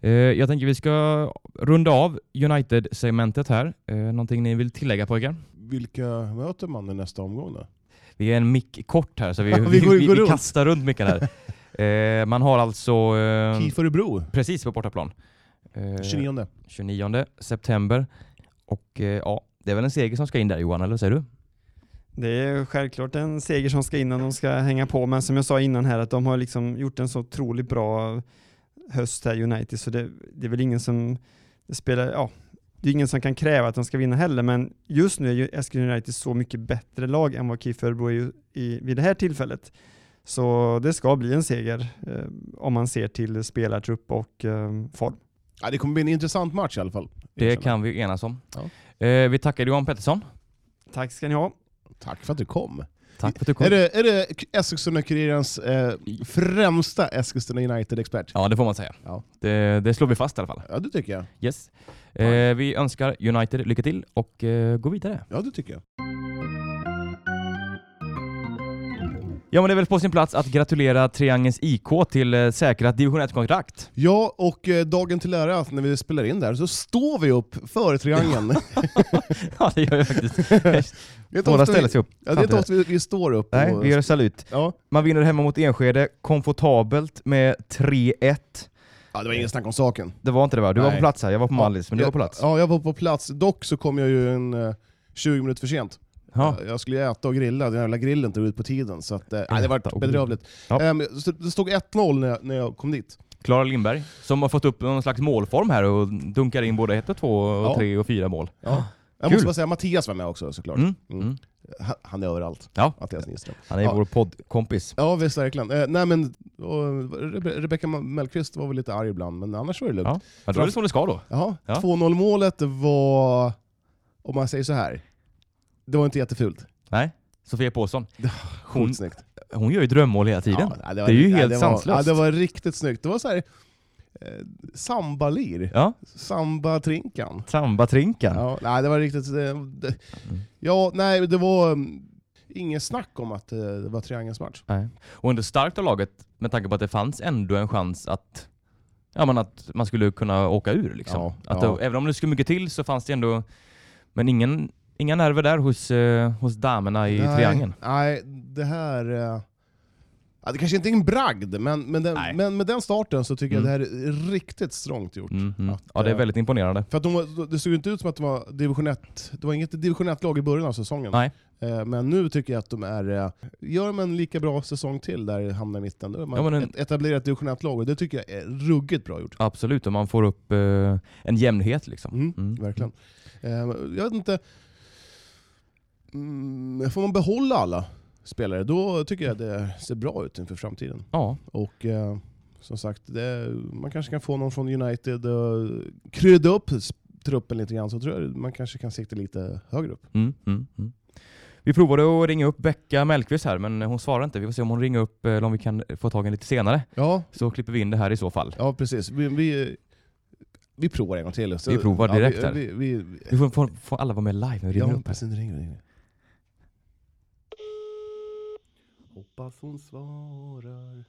Speaker 2: Eh, jag tänker vi ska runda av United-segmentet här. Eh, någonting ni vill tillägga pojkar?
Speaker 3: Vilka möter man i nästa omgång då?
Speaker 2: Vi är en mick kort här så vi,
Speaker 3: [LAUGHS] Ja,
Speaker 2: vi,
Speaker 3: vi
Speaker 2: vi,
Speaker 3: går-
Speaker 2: vi,
Speaker 3: går runt.
Speaker 2: kastar runt micken
Speaker 3: [LAUGHS]
Speaker 2: här. Eh, man har alltså eh,
Speaker 3: KIF Örebro,
Speaker 2: precis på bortaplan. Eh,
Speaker 3: 29.
Speaker 2: 29 september. Och eh, ja, det är väl en seger som ska in där Johan, eller vad säger du?
Speaker 4: Det är självklart en seger som ska in och de ska hänga på, men som jag sa innan här att de har liksom gjort en så otroligt bra höst här United, så det, det är väl ingen som spelar, ja, det är ingen som kan kräva att de ska vinna heller, men just nu är ju Eskilstuna United så mycket bättre lag än vad KIF Örebro är ju i, vid det här tillfället. Så det ska bli en seger eh, om man ser till spelartrupp och eh, form.
Speaker 3: Ja, det kommer bli en intressant match i alla fall.
Speaker 2: Det kan vi enas om.
Speaker 3: Ja.
Speaker 2: Eh, vi tackar Johan Pettersson.
Speaker 4: Tack ska ni ha.
Speaker 3: Tack för att du kom.
Speaker 2: Tack för att du kom.
Speaker 3: Är det, är det Eskilstuna-Kurirens eh, främsta Eskilstuna United-expert?
Speaker 2: Ja, det får man säga.
Speaker 3: Ja.
Speaker 2: Det, det slår vi fast i alla fall.
Speaker 3: Ja, det tycker jag.
Speaker 2: Yes. Eh, vi önskar United lycka till och eh, gå vidare.
Speaker 3: Ja, det tycker jag.
Speaker 2: Ja, men det är väl på sin plats att gratulera Triangens IK till eh, säkrat division 1-kontrakt.
Speaker 3: Ja, och eh, dagen till ära, att när vi spelar in där så står vi upp för triangeln.
Speaker 2: [LAUGHS]
Speaker 3: [LAUGHS]
Speaker 2: ja, det gör jag [LAUGHS] faktiskt.
Speaker 3: Det är
Speaker 2: Båda
Speaker 3: inte ofta vi-
Speaker 2: ställer sig upp.
Speaker 3: Ja, det är inte ofta vi, vi står upp.
Speaker 2: Nej,
Speaker 3: och-
Speaker 2: vi gör salut.
Speaker 3: ja.
Speaker 2: Man vinner hemma mot Enskede, komfortabelt med 3-1.
Speaker 3: ja, det var ingen snack om saken.
Speaker 2: Det var inte det va? Du var
Speaker 3: Nej.
Speaker 2: på plats här, jag var på Mallis, men du
Speaker 3: jag,
Speaker 2: var på plats.
Speaker 3: Ja, jag var på plats. Dock så kom jag ju en eh, 20 minuter för sent.
Speaker 2: Ja.
Speaker 3: Jag skulle äta och grilla, den jävla grillen tog ut på tiden. Så att, eh, nej, det
Speaker 2: Äta och
Speaker 3: var bedrövligt.
Speaker 2: Ja.
Speaker 3: Ehm, så det stod 1-0 när, jag- när jag kom dit.
Speaker 2: Klara Lindberg, som har fått upp någon slags målform här och dunkar in både 1 och 2 och
Speaker 3: Ja.
Speaker 2: 3 och 4 mål.
Speaker 3: Ja. Jag
Speaker 2: Kul.
Speaker 3: måste bara säga, Mattias var med också såklart.
Speaker 2: Mm.
Speaker 3: Mm.
Speaker 2: Mm.
Speaker 3: Ha- Han är överallt,
Speaker 2: Ja.
Speaker 3: Mattias Nyström.
Speaker 2: Han är
Speaker 3: Ja.
Speaker 2: vår poddkompis.
Speaker 3: Ja visst, verkligen. Eh, nej, men, och, Rebe- Rebecka Mellqvist var väl lite arg ibland, men annars var det lugnt.
Speaker 2: Ja. Ja, då är det som det ska då.
Speaker 3: Jaha,
Speaker 2: Ja.
Speaker 3: 2-0 målet var, om man säger så här, det var inte jättefult.
Speaker 2: Nej, Sofia Pålsson. Hon,
Speaker 3: Sjukt snyggt.
Speaker 2: hon gör ju drömmål hela tiden.
Speaker 3: Ja, nej, var,
Speaker 2: Det är ju
Speaker 3: nej,
Speaker 2: helt
Speaker 3: det Var, ja,
Speaker 2: sanslöst.
Speaker 3: det var riktigt snyggt. Det var så här, eh, sambalir,
Speaker 2: Ja,
Speaker 3: sambatrinkan.
Speaker 2: Samba-trinkan.
Speaker 3: Ja, nej, det var riktigt... eh, Det, ja, nej, det var mm, ingen snack om att eh, det var triangelns match.
Speaker 2: Nej. Och ändå starkt av laget med tanke på att det fanns ändå en chans att, ja, men att man skulle kunna åka ur. Liksom.
Speaker 3: Ja,
Speaker 2: att
Speaker 3: ja.
Speaker 2: Det, även om det skulle mycket till så fanns det ändå, men ingen, inga nerver där hos, eh, hos damerna i
Speaker 3: nej,
Speaker 2: triangeln.
Speaker 3: Nej, det här... eh, Ja, det kanske inte är en bragd, men, men,
Speaker 2: Nej.
Speaker 3: den, men med den starten så tycker
Speaker 2: Mm.
Speaker 3: jag det här är riktigt strångt gjort.
Speaker 2: Mm, mm.
Speaker 3: Att,
Speaker 2: Ja, det är
Speaker 3: eh,
Speaker 2: väldigt imponerande.
Speaker 3: För att de, var- det såg ju inte ut som att de var division 1, det var inget division 1-lag i början av säsongen.
Speaker 2: Nej.
Speaker 3: Eh, Men nu tycker jag att de är... eh, Gör de en lika bra säsong till där hamnar i mitten, då är man
Speaker 2: Ja, men en-
Speaker 3: ett etablerat division 1-lag och det tycker jag är ruggigt bra gjort.
Speaker 2: Absolut, och man får upp eh, en jämnhet. Liksom.
Speaker 3: Mm,
Speaker 2: Mm.
Speaker 3: Verkligen. Eh, Jag vet inte... Mm, Får man behålla alla spelare, då tycker jag det ser bra ut inför framtiden.
Speaker 2: Ja,
Speaker 3: Och eh, som sagt, det, man kanske kan få någon från United och krydda upp s- truppen lite grann, så tror jag man kanske kan sikta lite högre upp.
Speaker 2: Mm, mm, mm. Vi provade att ringa upp Becka Mellqvist här, men hon svarar inte. Vi får se om hon ringer upp, eh, eller om vi kan få tag i henne lite senare.
Speaker 3: Ja,
Speaker 2: Så klipper vi in det här i så fall.
Speaker 3: ja precis. Vi, vi, Vi provar en gång till. Så,
Speaker 2: Vi provar direkt
Speaker 3: ja,
Speaker 2: här.
Speaker 3: vi, vi, vi,
Speaker 2: Nu får, får, får alla vara med live när vi ringer
Speaker 3: ja,
Speaker 2: upp här.
Speaker 3: precis, nu ringer vi, ringer. Hoppas hon svarar.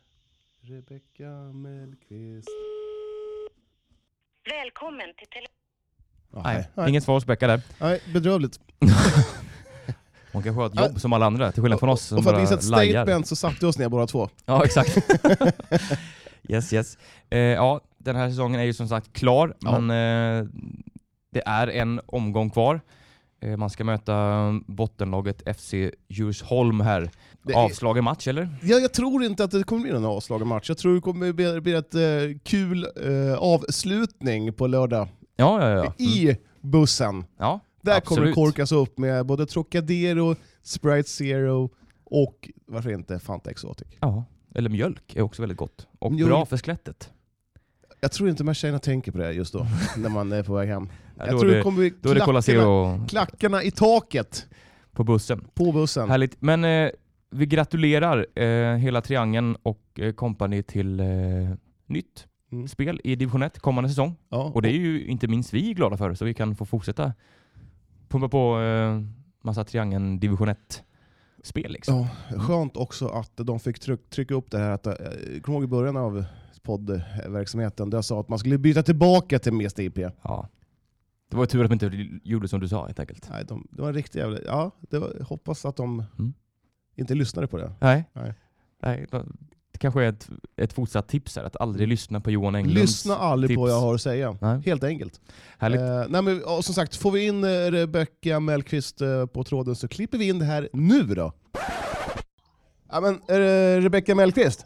Speaker 3: Rebecka Mellqvist.
Speaker 5: Välkommen till tele-
Speaker 3: Ah,
Speaker 2: Nej,
Speaker 3: nej,
Speaker 2: inget svar hos Becka där. [LAUGHS]
Speaker 3: nej, bedrövligt.
Speaker 2: Hon kanske har ett jobb som alla andra, till skillnad från oss som
Speaker 3: Och för att
Speaker 2: bara
Speaker 3: visa ett
Speaker 2: lajar.
Speaker 3: statement så satte vi oss ner båda två.
Speaker 2: Ja, exakt. [LAUGHS] yes, yes. Eh, ja, den här säsongen är ju som sagt klar,
Speaker 3: Ja.
Speaker 2: men eh, det är en omgång kvar. Eh, man ska möta bottenlaget FC Djursholm här.
Speaker 3: Det är-
Speaker 2: Avslagen match, eller?
Speaker 3: Jag, jag tror inte att det kommer bli någon avslagen match. Jag tror det kommer bli, bli ett eh, kul eh, avslutning på lördag
Speaker 2: Ja, ja, ja. Mm.
Speaker 3: i bussen.
Speaker 2: ja
Speaker 3: Där kommer det
Speaker 2: absolut.
Speaker 3: korkas upp med både Trocadero, Sprite Zero och varför inte Fanta Exotic.
Speaker 2: Ja. Eller mjölk är också väldigt gott. Och
Speaker 3: Mjölk.
Speaker 2: bra för
Speaker 3: [LAUGHS]
Speaker 2: skelettet.
Speaker 3: Jag tror inte de här tjejerna tänker på det just då, när man är på väg hem.
Speaker 2: Ja,
Speaker 3: Jag
Speaker 2: då,
Speaker 3: tror
Speaker 2: är
Speaker 3: det
Speaker 2: det,
Speaker 3: kommer bli
Speaker 2: då är det Cola
Speaker 3: klackarna,
Speaker 2: Zero
Speaker 3: klackarna i taket
Speaker 2: på bussen.
Speaker 3: på bussen.
Speaker 2: Härligt. Men eh, vi gratulerar eh, hela triangeln och eh, kompani till eh, nytt
Speaker 3: Mm.
Speaker 2: spel i division 1 kommande säsong.
Speaker 3: Ja,
Speaker 2: Och det är ju inte minst vi glada för, så vi kan få fortsätta pumpa på eh, massa triangeln division 1-spel. Liksom.
Speaker 3: ja, skönt också att de fick tryck, trycka upp det här, att, eh, jag kommer ihåg i början av poddverksamheten, där jag sa att man skulle byta tillbaka till Mest IP.
Speaker 2: Ja. Det var ju tur att de inte gjorde som du sa helt enkelt.
Speaker 3: Nej, de, det var en riktig jävla... Ja, det var, hoppas att de
Speaker 2: Mm.
Speaker 3: inte lyssnade på det.
Speaker 2: Nej.
Speaker 3: Nej.
Speaker 2: Nej, då- det kanske är ett, ett fortsatt tips här, att aldrig lyssna på Johan Englunds
Speaker 3: Mm. Lyssna aldrig på
Speaker 2: tips.
Speaker 3: vad jag har att säga.
Speaker 2: Nej.
Speaker 3: Helt enkelt.
Speaker 2: Härligt.
Speaker 3: Eh, nej men, ja, som sagt, får vi in eh, Rebecca Mellqvist eh, på tråden så klipper vi in det här nu då. Ja, men, eh, Rebecca Mellqvist?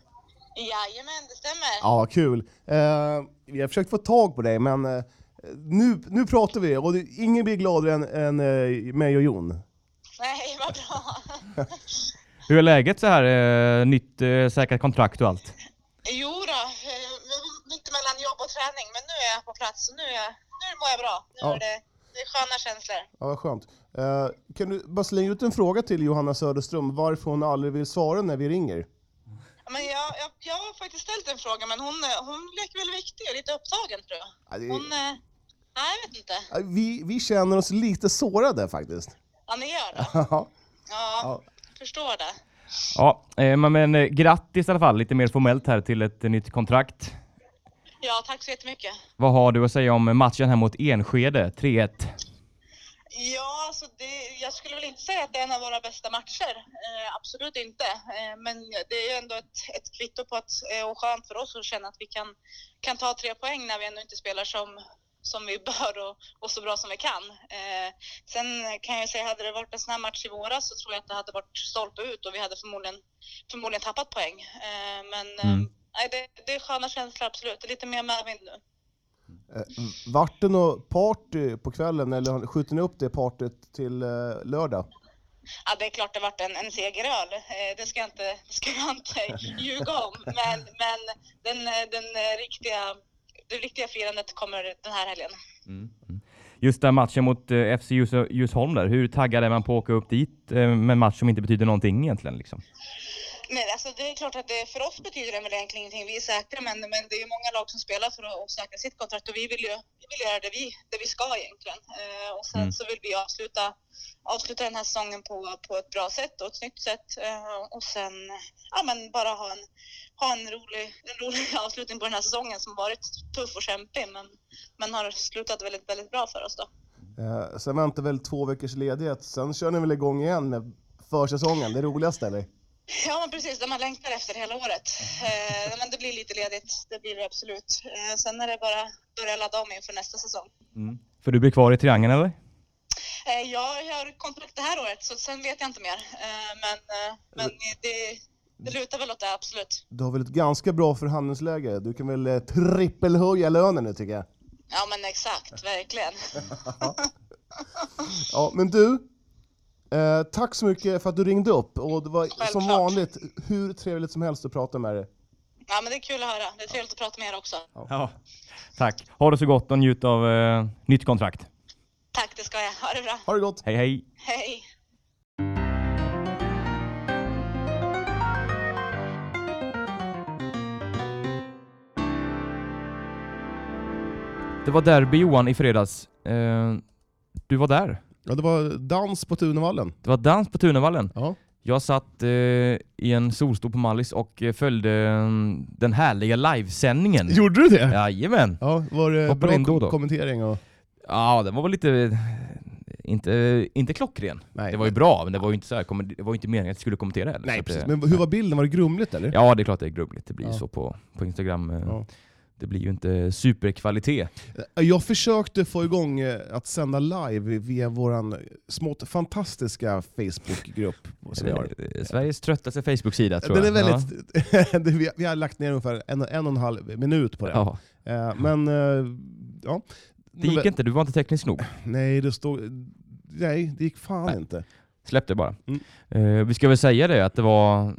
Speaker 6: Jajamän, det stämmer.
Speaker 3: Ja, kul. Eh, vi har försökt få tag på dig, men eh, nu, nu pratar vi och det, ingen blir gladare än, än eh, mig och Jon.
Speaker 6: Nej, vad bra.
Speaker 2: Hur är läget så här? Eh, nytt eh, säkert kontrakt och allt?
Speaker 6: Jo då, eh, mitt mellan jobb och träning, men nu är jag på plats och nu, är jag, nu mår jag bra. Nu
Speaker 3: Ja.
Speaker 6: är det, det är sköna känslor.
Speaker 3: Ja, vad skönt. Eh, kan du bara slänga ut en fråga till Johanna Söderström, varför hon aldrig vill svara när vi ringer?
Speaker 6: Ja, Men jag, jag, jag har faktiskt ställt en fråga, men hon, eh, hon leker väl viktig och lite upptagen tror jag.
Speaker 3: Ja, det-
Speaker 6: Hon, eh, nej, jag vet inte.
Speaker 3: Eh, Vi, vi känner oss lite sårade faktiskt. [LAUGHS]
Speaker 6: Ja, ni gör det. Ja, jag förstår det.
Speaker 2: Ja, eh, men, men eh, grattis i alla fall, lite mer formellt här till ett eh, nytt kontrakt.
Speaker 6: Ja, tack så jättemycket.
Speaker 2: Vad har du att säga om matchen här mot Enskede, 3-1?
Speaker 6: Ja, alltså det, jag skulle väl inte säga att det är en av våra bästa matcher. Eh, absolut inte. Eh, men det är ju ändå ett, ett kvitto på att, eh, och skönt för oss att känna att vi kan, kan ta tre poäng när vi ändå inte spelar som, som vi [LAUGHS] bör och, och så bra som vi kan. Eh, sen kan jag ju säga, hade det varit en sån här match i våras så tror jag att det hade varit stolpe ut och vi hade förmodligen, förmodligen tappat poäng. Eh, men eh,
Speaker 2: Mm.
Speaker 6: nej, det, det är sköna känslor, absolut. Det är lite mer medvind nu.
Speaker 3: Eh, Vart det något party på kvällen eller skjuter ni upp det partyt till eh, lördag?
Speaker 6: Ja, det är klart det vart en, en segeröl. Eh, Det ska jag inte, det ska jag inte ljuga om. Men, men den, eh, den eh, riktiga, det riktiga firandet kommer den här helgen.
Speaker 2: Mm, Just den matchen mot eh, FC Ljus- Ljusholm där, hur taggad är man på att åka upp dit eh, med en match som inte betyder någonting egentligen? Liksom?
Speaker 6: Men alltså, det är klart att det, för oss betyder det väl egentligen ingenting. Vi är säkra, men, men det är ju många lag som spelar för att, att säkra sitt kontrakt och vi vill ju vi vill göra det vi, det vi ska egentligen. Eh, och sen
Speaker 2: Mm.
Speaker 6: så vill vi avsluta, avsluta den här säsongen på, på ett bra sätt och ett snyggt sätt. Eh, och sen ja, men bara ha en, ha en, rolig, en rolig [LAUGHS] avslutning på den här säsongen som varit tuff och kämpig, men, men har slutat väldigt, väldigt bra för oss då.
Speaker 3: Eh, Sen väntar väl två veckors ledighet, sen kör ni väl igång igen med försäsongen, det roligaste eller?
Speaker 6: Ja, men precis. Det man längtar efter hela året. Eh, men det blir lite ledigt, det blir det absolut. Eh, sen är det bara att börja ladda om inför nästa säsong.
Speaker 2: För du blir kvar i triangeln eller?
Speaker 6: Eh, jag har kontrakt det här året, så sen vet jag inte mer. Eh, men eh, men det, det lutar väl åt det, absolut.
Speaker 3: Du har väl ett ganska bra förhandlingsläge? Du kan väl eh, trippelhöja lönen nu tycker jag?
Speaker 6: Ja, men exakt. Verkligen.
Speaker 3: Ja, men du. Eh, tack så mycket för att du ringde upp och det var som
Speaker 6: Självklart.
Speaker 3: vanligt hur trevligt som helst att prata med dig.
Speaker 6: Ja, men det är kul att höra. Det är trevligt att prata med er också.
Speaker 2: Ja. Tack. Ha det så gott och njut av eh, nytt kontrakt.
Speaker 6: Tack, det ska jag. Ha det bra.
Speaker 3: Ha det gott!
Speaker 2: Hej hej!
Speaker 6: Hej!
Speaker 2: Det var derby Johan i fredags. Eh, du var där.
Speaker 3: Ja, det var dans på Tunavallen.
Speaker 2: Det var dans på Tunavallen.
Speaker 3: Ja.
Speaker 2: Jag satt eh, i en solstol på Mallis och eh, följde eh, den härliga livesändningen.
Speaker 3: Gjorde du det?
Speaker 2: Jajamän!
Speaker 3: Ja, var det
Speaker 2: Hoppade
Speaker 3: bra
Speaker 2: in då då?
Speaker 3: kom- kommentering? Och...
Speaker 2: Ja, den var väl lite... eh, Inte, eh, inte klockren.
Speaker 3: Nej,
Speaker 2: Det var ju
Speaker 3: men-
Speaker 2: bra, men det var ju inte, så här, kommer- det var ju inte meningen att jag skulle kommentera heller. Så
Speaker 3: Nej,
Speaker 2: att
Speaker 3: precis.
Speaker 2: det-
Speaker 3: Men hur var bilden? Var det grumligt eller?
Speaker 2: Ja, det är klart det är grumligt. Det blir ju
Speaker 3: Ja.
Speaker 2: så på, på Instagram. eh,
Speaker 3: Ja.
Speaker 2: Det blir ju inte superkvalitet.
Speaker 3: Jag försökte få igång eh, att sända live via vår smått fantastiska
Speaker 2: [LAUGHS]
Speaker 3: Facebookgrupp. som vi har.
Speaker 2: Eh, Sveriges tröttaste Facebook-sida tror
Speaker 3: Den är
Speaker 2: jag.
Speaker 3: väldigt, [LAUGHS] det- vi, vi har lagt ner ungefär en, en och en halv minut på
Speaker 2: Ja.
Speaker 3: det.
Speaker 2: Ja.
Speaker 3: Eh, Men eh, ja.
Speaker 2: Det gick inte, du var inte teknisk nog.
Speaker 3: Nej, det stod... Nej, det gick fan
Speaker 2: Nej.
Speaker 3: inte.
Speaker 2: Släpp det bara.
Speaker 3: Mm.
Speaker 2: Eh, vi ska väl säga det att det var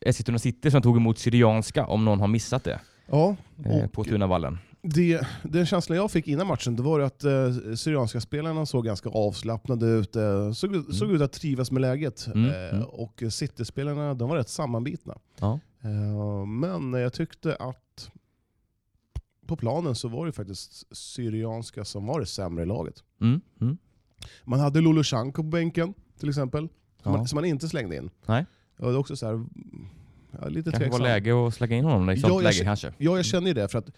Speaker 2: Eskilstuna City som tog emot Syrianska, om någon har missat det,
Speaker 3: Ja,
Speaker 2: eh,
Speaker 3: Och-
Speaker 2: på Tunavallen.
Speaker 3: det, den känslan jag fick innan matchen det var ju att eh, Syrianska spelarna såg ganska avslappnade ut. Eh, såg, såg ut att trivas med läget.
Speaker 2: Mm,
Speaker 3: Eh,
Speaker 2: mm.
Speaker 3: och City-spelarna de var rätt sammanbitna.
Speaker 2: Ja.
Speaker 3: Eh, men jag tyckte att på planen så var det faktiskt Syrianska som var det sämre laget.
Speaker 2: Mm. Mm.
Speaker 3: Man hade Lulushanko på bänken till exempel, som,
Speaker 2: Ja.
Speaker 3: man, som man inte slängde in.
Speaker 2: Nej.
Speaker 3: Ja, det är också så här, ja,
Speaker 2: Kanske
Speaker 3: lite
Speaker 2: var
Speaker 3: tveksam.
Speaker 2: läge att slänga in honom i ett
Speaker 3: Ja,
Speaker 2: sånt
Speaker 3: jag
Speaker 2: läge
Speaker 3: känner-
Speaker 2: kanske.
Speaker 3: Ja, jag känner ju det. För att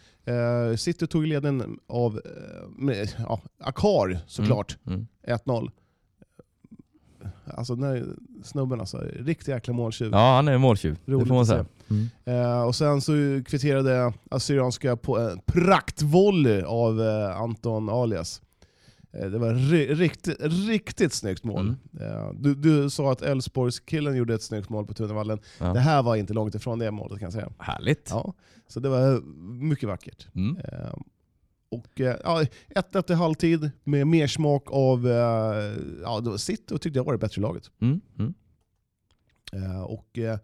Speaker 3: eh, City tog ledningen av eh, med, ja, Akar såklart,
Speaker 2: Mm.
Speaker 3: 1-0. Alltså den här snubben alltså, riktig jäkla måltjuv.
Speaker 2: Ja, han är måltjuv. det
Speaker 3: Roligt
Speaker 2: får man
Speaker 3: att
Speaker 2: säga. Mm.
Speaker 3: Eh, och sen så kvitterade Assyrianska på en praktvolley av eh, Anton Alias. Eh, det var ri- riktigt, riktigt snyggt mål.
Speaker 2: Mm.
Speaker 3: Eh, du, du sa att Elfsborgskillen gjorde ett snyggt mål på Tunavallen.
Speaker 2: Ja.
Speaker 3: Det här var inte långt ifrån det målet kan jag säga.
Speaker 2: Härligt.
Speaker 3: Ja, så det var eh, mycket vackert.
Speaker 2: Mm.
Speaker 3: Eh, Och eh, ja, 1-1 i halvtid med mer smak av eh, ja, det var sitt och tyckte jag var det bättre laget.
Speaker 2: Mm. Mm.
Speaker 3: Eh, Och, eh,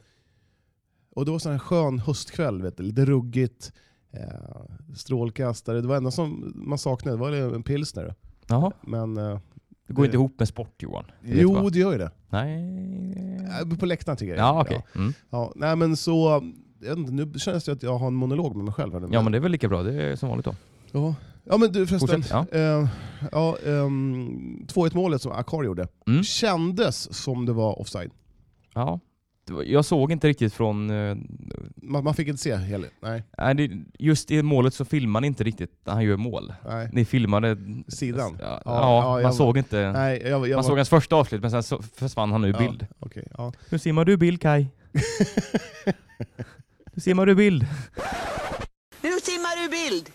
Speaker 3: och det var sån här skön höstkväll, vet du, lite ruggigt. eh, Strålkastare, det var enda som man saknade det var en pilsner.
Speaker 2: Jaha,
Speaker 3: Men eh,
Speaker 2: det går inte ihop med sport Johan. Det vet
Speaker 3: jo,
Speaker 2: jag.
Speaker 3: det gör ju det.
Speaker 2: Nej.
Speaker 3: Eh, På läktaren tycker jag.
Speaker 2: Ja, okej. Mm.
Speaker 3: Ja, nej, men så, jag vet inte, nu känns det att jag har en monolog med mig själv. Här nu,
Speaker 2: Ja, men det är väl lika bra. Det är som vanligt då.
Speaker 3: Ja. Ja men du förresten,
Speaker 2: Fortsätt,
Speaker 3: eh, ja, ehm, 2-1 målet som Akar gjorde
Speaker 2: Mm.
Speaker 3: kändes som det var offside.
Speaker 2: Ja. Det var- Jag såg inte riktigt från... eh,
Speaker 3: Man, man fick inte se hela. Nej,
Speaker 2: nej, det- Just i målet så filmar ni inte riktigt när han gör mål.
Speaker 3: nej.
Speaker 2: Ni filmade...
Speaker 3: Sidan.
Speaker 2: Ja, ja,
Speaker 3: ja,
Speaker 2: man
Speaker 3: jag-
Speaker 2: såg inte...
Speaker 3: nej jag, jag,
Speaker 2: man såg hans första avslut, men sen så försvann han ur
Speaker 3: Ja.
Speaker 2: bild.
Speaker 3: okej, ja.
Speaker 2: Nu simmar du bild,
Speaker 3: [LAUGHS]
Speaker 2: Kai. nu simmar du bild.
Speaker 5: Nu simmar du bild.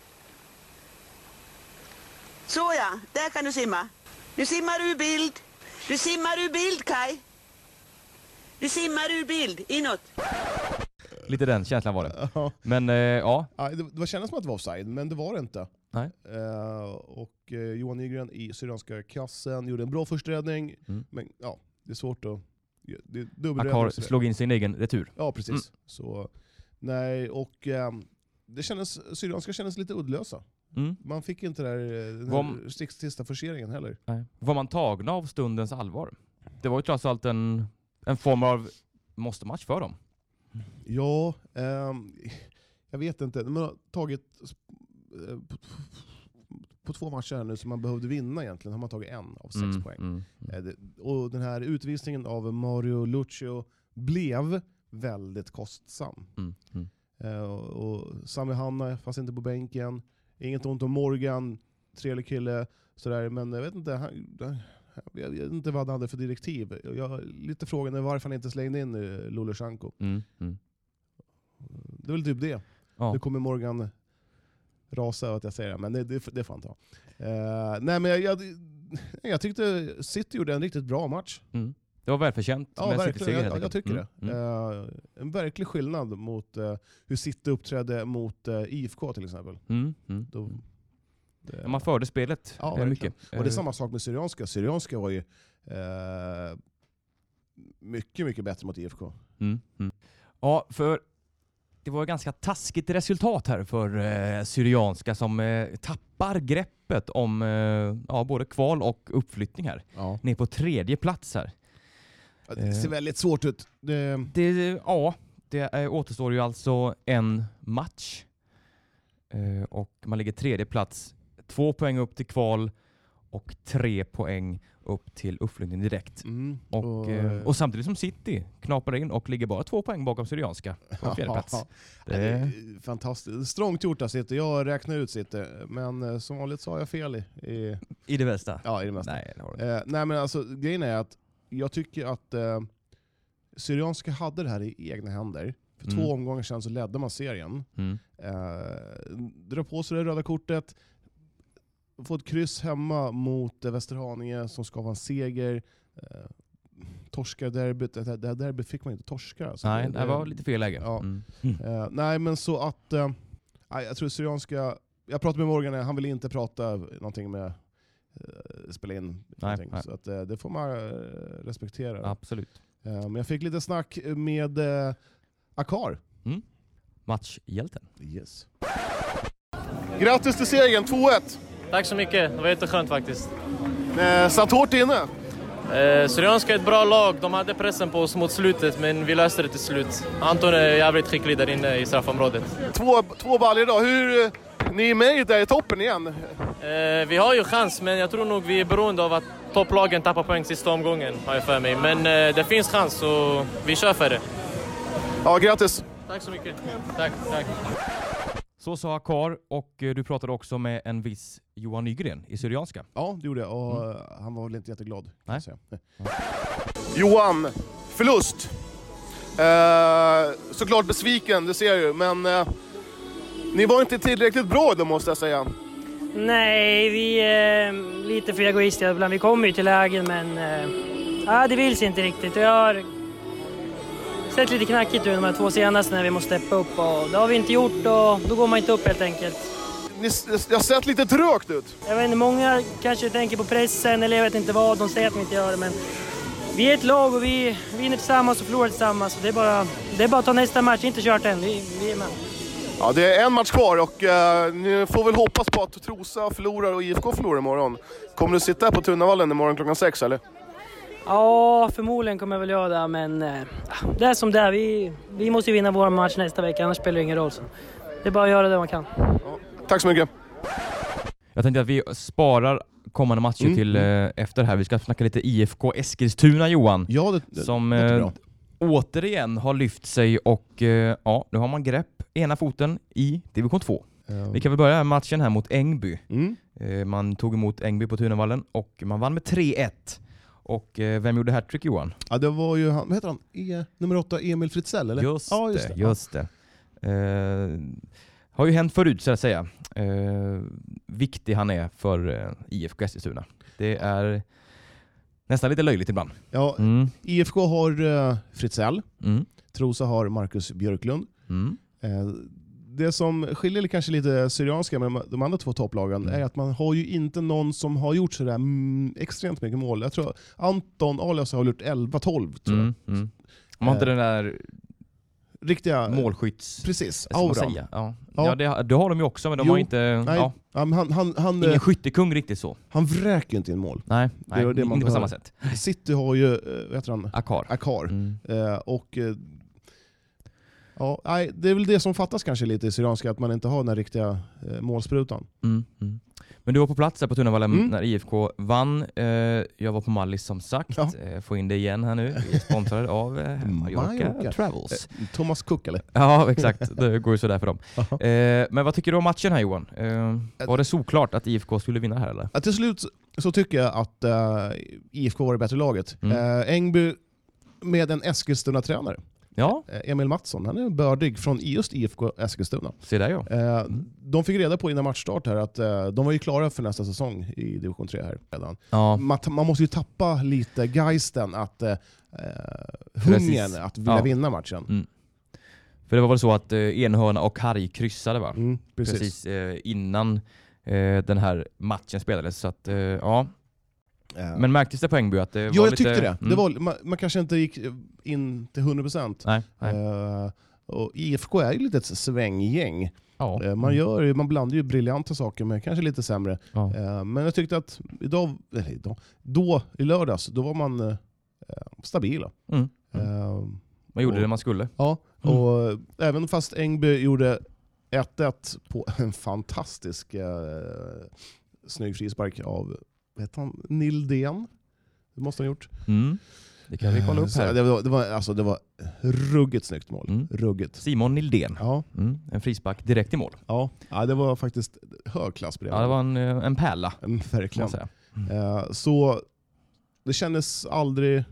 Speaker 5: Såja, där kan du simma. Nu simmar du bild. Du simmar ur bild, Kai. Du simmar ur bild, inåt.
Speaker 2: Lite den känslan var det.
Speaker 3: Ja.
Speaker 2: Men eh, ja,
Speaker 3: Ja, det, det kändes som att det var offside, men det var det inte.
Speaker 2: Nej.
Speaker 3: Eh, och eh, Johan Nygren i Syrianska kassen gjorde en bra första räddning,
Speaker 2: Mm.
Speaker 3: men ja, det är svårt att... Det är dubbelräddning.
Speaker 2: Akar
Speaker 3: så det-
Speaker 2: slog in sin egen retur.
Speaker 3: Ja, precis.
Speaker 2: Mm.
Speaker 3: Så, nej, och ehm, det kändes, Syrianska kändes lite uddlösa.
Speaker 2: Mm.
Speaker 3: Man fick inte det där, eh, den
Speaker 2: Vom-
Speaker 3: här sist- sista forceringen heller.
Speaker 2: Nej. Var man tagna av stundens allvar? Det var ju trots allt en, en form av måste-match för dem.
Speaker 3: Ja, ehm, jag vet inte. Man har tagit eh, på, på två matcher här nu som man behövde vinna egentligen, har man tagit en av sex
Speaker 2: Mm,
Speaker 3: poäng.
Speaker 2: Mm.
Speaker 3: Eh, det- Och den här utvisningen av Mario Lucio blev väldigt kostsam.
Speaker 2: Mm. Mm.
Speaker 3: Eh, Och och Sami Hanna fanns inte på bänken. Inget ont om Morgan, trevlig kille. Sådär. Men jag vet, inte, han, han- jag vet inte vad han hade för direktiv. Jag är lite frågan varför han inte slängde in eh, Lulushanko.
Speaker 2: Mm. Mm.
Speaker 3: Det är väl typ det.
Speaker 2: Ja.
Speaker 3: Nu kommer Morgan rasa över att jag säger det, men det, det, det får han ta. Eh, nej, men jag, jag, jag tyckte City gjorde en riktigt bra match.
Speaker 2: Mm. Det var välförtjänt.
Speaker 3: Ja,
Speaker 2: med en
Speaker 3: verkligen.
Speaker 2: City-seger helt
Speaker 3: Jag, jag
Speaker 2: enkelt.
Speaker 3: tycker
Speaker 2: Mm,
Speaker 3: det.
Speaker 2: Mm.
Speaker 3: Eh, en verklig skillnad mot eh, hur City uppträdde mot eh, IFK till exempel.
Speaker 2: Mm. Mm.
Speaker 3: Eh, Då,
Speaker 2: Mm.
Speaker 3: det,
Speaker 2: Man förde spelet
Speaker 3: Ja,
Speaker 2: eh,
Speaker 3: verkligen.
Speaker 2: mycket.
Speaker 3: och det är
Speaker 2: Eh,
Speaker 3: samma sak med Syrianska. Syrianska var ju eh, mycket, mycket bättre mot IFK.
Speaker 2: Mm. Mm. Ja, för det var ju ganska taskigt resultat här för eh, Syrianska som eh, tappar greppet om eh, ja, både kval och uppflyttning här.
Speaker 3: Ja.
Speaker 2: Ner på tredje plats här.
Speaker 3: Det ser
Speaker 2: Eh.
Speaker 3: väldigt svårt ut. Det,
Speaker 2: Det, ja, det eh, återstår ju alltså en match. Eh, och man ligger tredje plats, två poäng upp till kval och tre poäng upp till uppflyttning direkt.
Speaker 3: Mm.
Speaker 2: Och, eh, och samtidigt som City knapar in och ligger bara två poäng bakom Syrianska
Speaker 3: [LAUGHS]
Speaker 2: på fjärde plats.
Speaker 3: Ja, det
Speaker 2: Det,
Speaker 3: är Fantastiskt. Strångt gjort av City. Jag räknade ut City, men eh, som vanligt så har jag fel i, i,
Speaker 2: I det bästa?
Speaker 3: ja, i det mesta.
Speaker 2: Nej, det har du inte.
Speaker 3: Eh, nej men alltså grejen är att jag tycker att eh, Syrianska hade det här i egna händer. För
Speaker 2: Mm.
Speaker 3: två omgångar sedan så ledde man serien.
Speaker 2: Mm.
Speaker 3: Eh, dra på sig det röda kortet, få ett kryss hemma mot eh, Västerhaninge som ska vara en seger. Eh, torskar derbyt, det här det här derbyt fick man inte torska. Alltså.
Speaker 2: Nej, det här var lite fel läge.
Speaker 3: Ja.
Speaker 2: Mm.
Speaker 3: Eh, nej, men så att... Eh, nej, jag tror Syrianska... Jag pratade med Morgan, han ville inte prata någonting med... Eh, spela in någonting.
Speaker 2: nej.
Speaker 3: Så att, eh, det får man eh, respektera.
Speaker 2: Absolut.
Speaker 3: Eh, men jag fick lite snack med eh, Akar.
Speaker 2: Matchhjälten.
Speaker 3: Yes. Grattis till segern, 2-1.
Speaker 7: Tack så mycket, det var jätteskönt faktiskt.
Speaker 3: Eh, satt hårt inne.
Speaker 7: Eh, Syrianska är ett bra lag, de hade pressen på oss mot slutet men vi löste det till slut. Anton är jävligt skicklig där inne i straffområdet.
Speaker 3: Två, två baller idag. Hur, eh, ni är med där i toppen igen.
Speaker 7: Eh, vi har ju chans men jag tror nog vi är beroende av att topplagen tappar poäng sista omgången har jag för mig. Men eh, det finns chans så vi kör för det.
Speaker 3: Ja, grattis.
Speaker 7: Tack så mycket. Tack, tack.
Speaker 2: Så sa Akar och eh, du pratade också med en viss Johan Nygren i Syrianska.
Speaker 3: Ja, det gjorde jag. Och eh, Han var väl inte jätteglad. kan
Speaker 2: Nej.
Speaker 3: jag säga. Johan, förlust. Eh, såklart besviken, det ser jag ju. Men eh, ni var inte tillräckligt bra då måste jag säga.
Speaker 8: Nej, vi är lite för egoistiska ibland. Vi kommer ju till lägen men eh, ja, det vill sig inte riktigt. Det har sett lite knackigt ut de här två senaste när vi måste steppa upp och det har vi inte gjort och då går man inte upp helt enkelt.
Speaker 3: Ni, det har sett lite trögt ut.
Speaker 8: Jag vet inte, många kanske tänker på pressen eller jag vet inte vad. De säger att vi inte gör det men vi är ett lag och vi vinner tillsammans och förlorar tillsammans. Så det, är bara, det är bara att ta nästa match, inte kört än. Vi, vi är med.
Speaker 3: Ja, det är en match kvar och eh, ni får väl hoppas på att Trosa förlorar och IFK förlorar imorgon. Kommer du sitta här på Tunavallen imorgon klockan sex eller?
Speaker 8: Ja, förmodligen kommer jag väl göra det, men eh, det är som det är. Vi, vi måste ju vinna vår match nästa vecka, annars spelar det ingen roll. Så. Det är bara att göra det man kan.
Speaker 3: Tack så mycket.
Speaker 2: Jag tänkte att vi sparar kommande matcher
Speaker 3: Mm.
Speaker 2: till eh, efter här. Vi ska snacka lite IFK Eskilstuna Johan.
Speaker 3: Ja,
Speaker 2: Som eh, återigen har lyft sig och eh, ja, nu har man grepp ena foten i division 2.
Speaker 3: Eh,
Speaker 2: Vi kan väl börja med matchen här mot Ängby.
Speaker 3: Mm.
Speaker 2: Eh, Man tog emot Ängby på Tunavallen och man vann med 3-1. Och eh, vem gjorde hattrick Johan?
Speaker 3: Ja, det var ju han, vad heter han? E, nummer åtta, Emil Fritzell eller?
Speaker 2: Just,
Speaker 3: ja,
Speaker 2: det, just det. Eh, har ju hänt förut så att säga. Eh, viktig han är för eh, IFK Eskilstuna. Det är nästan lite löjligt ibland.
Speaker 3: Ja,
Speaker 2: Mm,
Speaker 3: IFK har eh, Fritzell,
Speaker 2: mm,
Speaker 3: Trosa har Marcus Björklund.
Speaker 2: mm.
Speaker 3: Eh, det som skiljer kanske lite Syrianska med de andra två topplagen
Speaker 2: Mm.
Speaker 3: är att man har ju inte någon som har gjort sådär mm, extremt mycket mål. Jag tror Anton Alias har gjort 11-12 tror
Speaker 2: Mm, mm. Man har inte den där
Speaker 3: jag. Riktiga...
Speaker 2: målskytts...
Speaker 3: Eh, Precis,
Speaker 2: vad ska man
Speaker 3: auran.
Speaker 2: säga? Ja,
Speaker 3: Ja.
Speaker 2: ja det, det har de ju också men de
Speaker 3: Jo,
Speaker 2: har inte...
Speaker 3: nej.
Speaker 2: Ja,
Speaker 3: Ja, men han, han, han, eh,
Speaker 2: ingen skyttekung riktigt så.
Speaker 3: han vräker ju inte in mål.
Speaker 2: Nej, nej
Speaker 3: var det man
Speaker 2: inte på samma
Speaker 3: behöver.
Speaker 2: sätt.
Speaker 3: City har ju, eh, vad heter han,
Speaker 2: Akar.
Speaker 3: Akar.
Speaker 2: Mm.
Speaker 3: Eh, och, eh, ja, nej, det är väl det som fattas kanske lite i Syrianska, att man inte har den här riktiga eh, målsprutan.
Speaker 2: Mm, mm. Men du var på plats här på Tunavallen
Speaker 3: Mm.
Speaker 2: när IFK vann. Eh, jag var på Mallis som sagt.
Speaker 3: Ja.
Speaker 2: Eh, få in det igen här nu. Vi är sponsrade av
Speaker 3: [LAUGHS]
Speaker 2: eh, Mallorca,
Speaker 3: Mallorca.
Speaker 2: Travels.
Speaker 3: Eh, Thomas Cook eller?
Speaker 2: Ja, exakt. Det går ju sådär för dem.
Speaker 3: Aha.
Speaker 2: Eh, men vad tycker du om matchen här Johan? Eh, var det solklart att IFK skulle vinna här eller?
Speaker 3: Ja, till slut så tycker jag att eh, IFK var det bättre laget.
Speaker 2: Mm.
Speaker 3: Eh, Engby med en Eskilstuna-tränare,
Speaker 2: Ja,
Speaker 3: eh, Emil Mattsson, han är bördig från just IFK Eskilstuna.
Speaker 2: se där ja.
Speaker 3: Eh,
Speaker 2: Mm.
Speaker 3: De fick reda på innan matchstart här att eh, de var ju klara för nästa säsong i division 3 här redan.
Speaker 2: ja.
Speaker 3: Man, man måste ju tappa lite geisten, att, eh, hungern
Speaker 2: Precis.
Speaker 3: att vilja
Speaker 2: Ja.
Speaker 3: vinna matchen.
Speaker 2: För det var väl så att eh, Enhörna och Harg kryssade va?
Speaker 3: Mm, precis.
Speaker 2: Precis, eh, innan eh, den här matchen spelades. Så att, eh, ja.
Speaker 3: Eh,
Speaker 2: Men märktes det på Ängby att det var
Speaker 3: jo, jag
Speaker 2: lite...
Speaker 3: tyckte det.
Speaker 2: Mm.
Speaker 3: det var, man, man kanske inte gick in till 100%.
Speaker 2: Nej, nej.
Speaker 3: Eh, och IFK är ju lite ett svänggäng.
Speaker 2: ja.
Speaker 3: Eh, man, gör, ju- man blandar ju briljanta saker med kanske lite sämre.
Speaker 2: Ja.
Speaker 3: Eh, men jag tyckte att idag, eller idag, då i lördags, då var man eh, stabila.
Speaker 2: Mm. Mm.
Speaker 3: Eh,
Speaker 2: Man gjorde det man skulle.
Speaker 3: Ja,
Speaker 2: Mm.
Speaker 3: och även fast Engby gjorde 1-1 på en fantastisk eh, snygg frispark av vad heter han, Nildén. Det måste han ha gjort.
Speaker 2: Mm. Det kan vi kolla upp
Speaker 3: Eh, Så
Speaker 2: här.
Speaker 3: Det var, det var, alltså, det var ruggigt snyggt mål.
Speaker 2: Eh, Mm.
Speaker 3: Ruggigt.
Speaker 2: Simon Nildén.
Speaker 3: Ja,
Speaker 2: Mm. En frispark direkt i mål.
Speaker 3: ja. ja, det var faktiskt hög klass på det.
Speaker 2: Ja, det var en, eh, en pärla
Speaker 3: Mm,
Speaker 2: kan
Speaker 3: Verkligen.
Speaker 2: man säga.
Speaker 3: Eh, Så det kändes aldrig...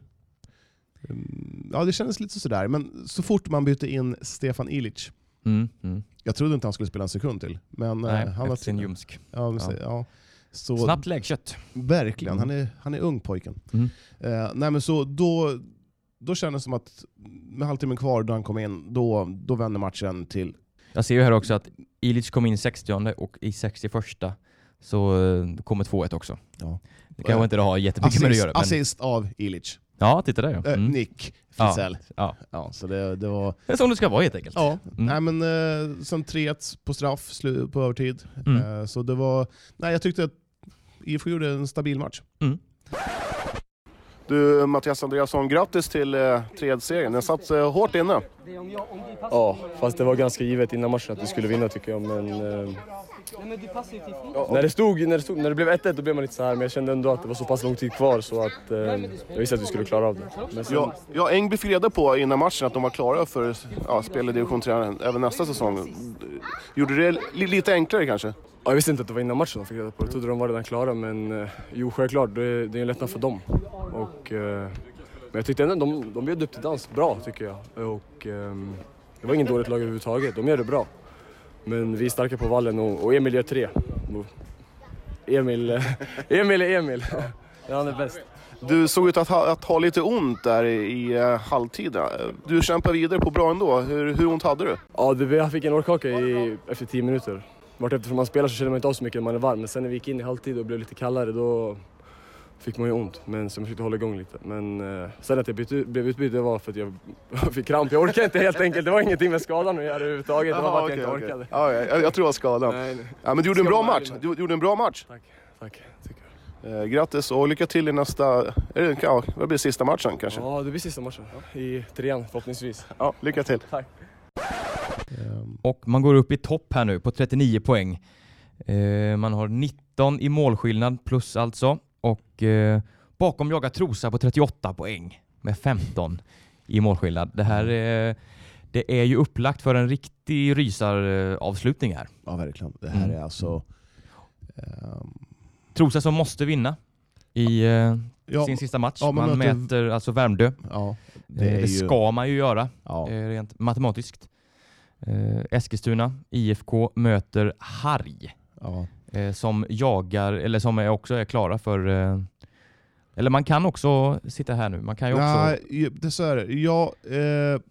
Speaker 3: Mm, Ja, det kändes lite sådär. Men så fort man bytte in Stefan Ilic,
Speaker 2: Mm. Mm.
Speaker 3: jag trodde inte han skulle spela en sekund till, men eh,
Speaker 2: Nej,
Speaker 3: han
Speaker 2: efter sin ljumsk.
Speaker 3: Ja, men se- ja. Så,
Speaker 2: Snabbt läggkött.
Speaker 3: Verkligen, han är, han är ung pojken.
Speaker 2: Mm.
Speaker 3: Eh, nej, men så då, då kändes det som att med halvtimmen kvar då han kom in, då, då vände matchen till...
Speaker 2: Jag ser ju här också att Ilic kom in i 60 och i 61 så eh, kommer 2-1 också.
Speaker 3: Ja. Eh,
Speaker 2: Det kanske inte det har jättemycket med det att
Speaker 3: Assist,
Speaker 2: göra. Men...
Speaker 3: assist av Ilic.
Speaker 2: Ja, titta där ja.
Speaker 3: Eh,
Speaker 2: Mm.
Speaker 3: Nick Fritzell. Ja.
Speaker 2: ja.
Speaker 3: så det, det var...
Speaker 2: Det är som det ska vara helt enkelt.
Speaker 3: Ja,
Speaker 2: Mm.
Speaker 3: nej, men eh, sen 3-1 på straff slu, på övertid.
Speaker 2: Mm.
Speaker 3: Eh, så det var... Nej, jag tyckte att IFK gjorde en stabil match.
Speaker 2: Mm.
Speaker 3: Du Mattias Andreasson, grattis till eh, 3-1-segern. Den satt eh, hårt inne.
Speaker 9: Ja, fast det var ganska givet innan matchen att vi skulle vinna tycker jag. Men, eh, ja, när, det stod, när, det stod, när det blev 1-1 då blev man lite så här men jag kände ändå att det var så pass lång tid kvar så att eh, jag visste att vi skulle klara av det. Men sen,
Speaker 3: Ja, ja, Engby fick reda på innan matchen att de var klara för ja, spel i division 3 även nästa säsong. Gjorde det li- lite enklare kanske?
Speaker 9: ja, jag visste inte att det var innan matchen de fick reda på det. Jag trodde de var redan klara men eh, jo, självklart det, är- det är en lättnad för dem. Och, eh, men jag tyckte ändå de, de bjöd upp till dans bra tycker jag. Och, ehm, det var inget dåligt lag överhuvudtaget, de gör det bra. Men vi är starka på vallen och, och Emil gör tre. Och Emil, [LAUGHS] eh, Emil är Emil. [LAUGHS] Han är bäst.
Speaker 3: Du såg ut att ha, att ha lite ont där i, i eh, halvtid. Eh, Du kämpar vidare på bra ändå. Hur, hur ont hade du?
Speaker 9: Ja, det, jag fick en årkaka i, efter 10 minuter. Vart eftersom man spelar så känner man inte av så mycket när man är varm. Men sen när vi gick in i halvtid och blev lite kallare då fick man ju ont. Men så jag försökte hålla igång lite. Men eh, sen att jag bytte, ut- blev utbytt det var för att jag [LAUGHS] fick kramp. Jag orkade inte helt enkelt. Det var ingenting med skadan att göra överhuvudtaget. Det var bara att jag inte orkade.
Speaker 3: Ja, ja, jag, jag tror det var skadan.
Speaker 9: Nej, nej.
Speaker 3: Ja, men du gjorde en
Speaker 9: Ska
Speaker 3: bra
Speaker 9: man vara
Speaker 3: match.
Speaker 9: ärlig
Speaker 3: Du gjorde en bra match.
Speaker 9: Tack, tack. Tycker jag.
Speaker 3: Eh, grattis och lycka till i nästa... Är det, ja, det blir sista matchen kanske.
Speaker 9: Ja, det blir sista matchen. I trean förhoppningsvis.
Speaker 3: Ja, lycka till.
Speaker 9: Tack.
Speaker 3: Ehm,
Speaker 2: Och man går upp i topp här nu på 39 poäng. Eh, man har 19 i målskillnad plus alltså. Och eh, bakom jagar Trosa på 38 poäng med 15 i målskillnad. Det här
Speaker 3: Mm.
Speaker 2: eh, det är ju upplagt för en riktig rysaravslutning här.
Speaker 3: Ja, verkligen. Det
Speaker 2: här Mm.
Speaker 3: är alltså... ehm,
Speaker 2: Trosa som måste vinna i eh, sin sista match.
Speaker 3: ja, man
Speaker 2: man
Speaker 3: möter-
Speaker 2: mäter alltså Värmdö.
Speaker 3: ja,
Speaker 2: Det, det ska man ju göra
Speaker 3: Ja.
Speaker 2: eh, rent matematiskt. Eh, Eskilstuna IFK möter Harg.
Speaker 3: Ja.
Speaker 2: eh, som jagar, eller som är också är klara för... Eh, eller man kan också sitta här nu, man kan ju också...
Speaker 3: Nej, det är så här. Ja, eh,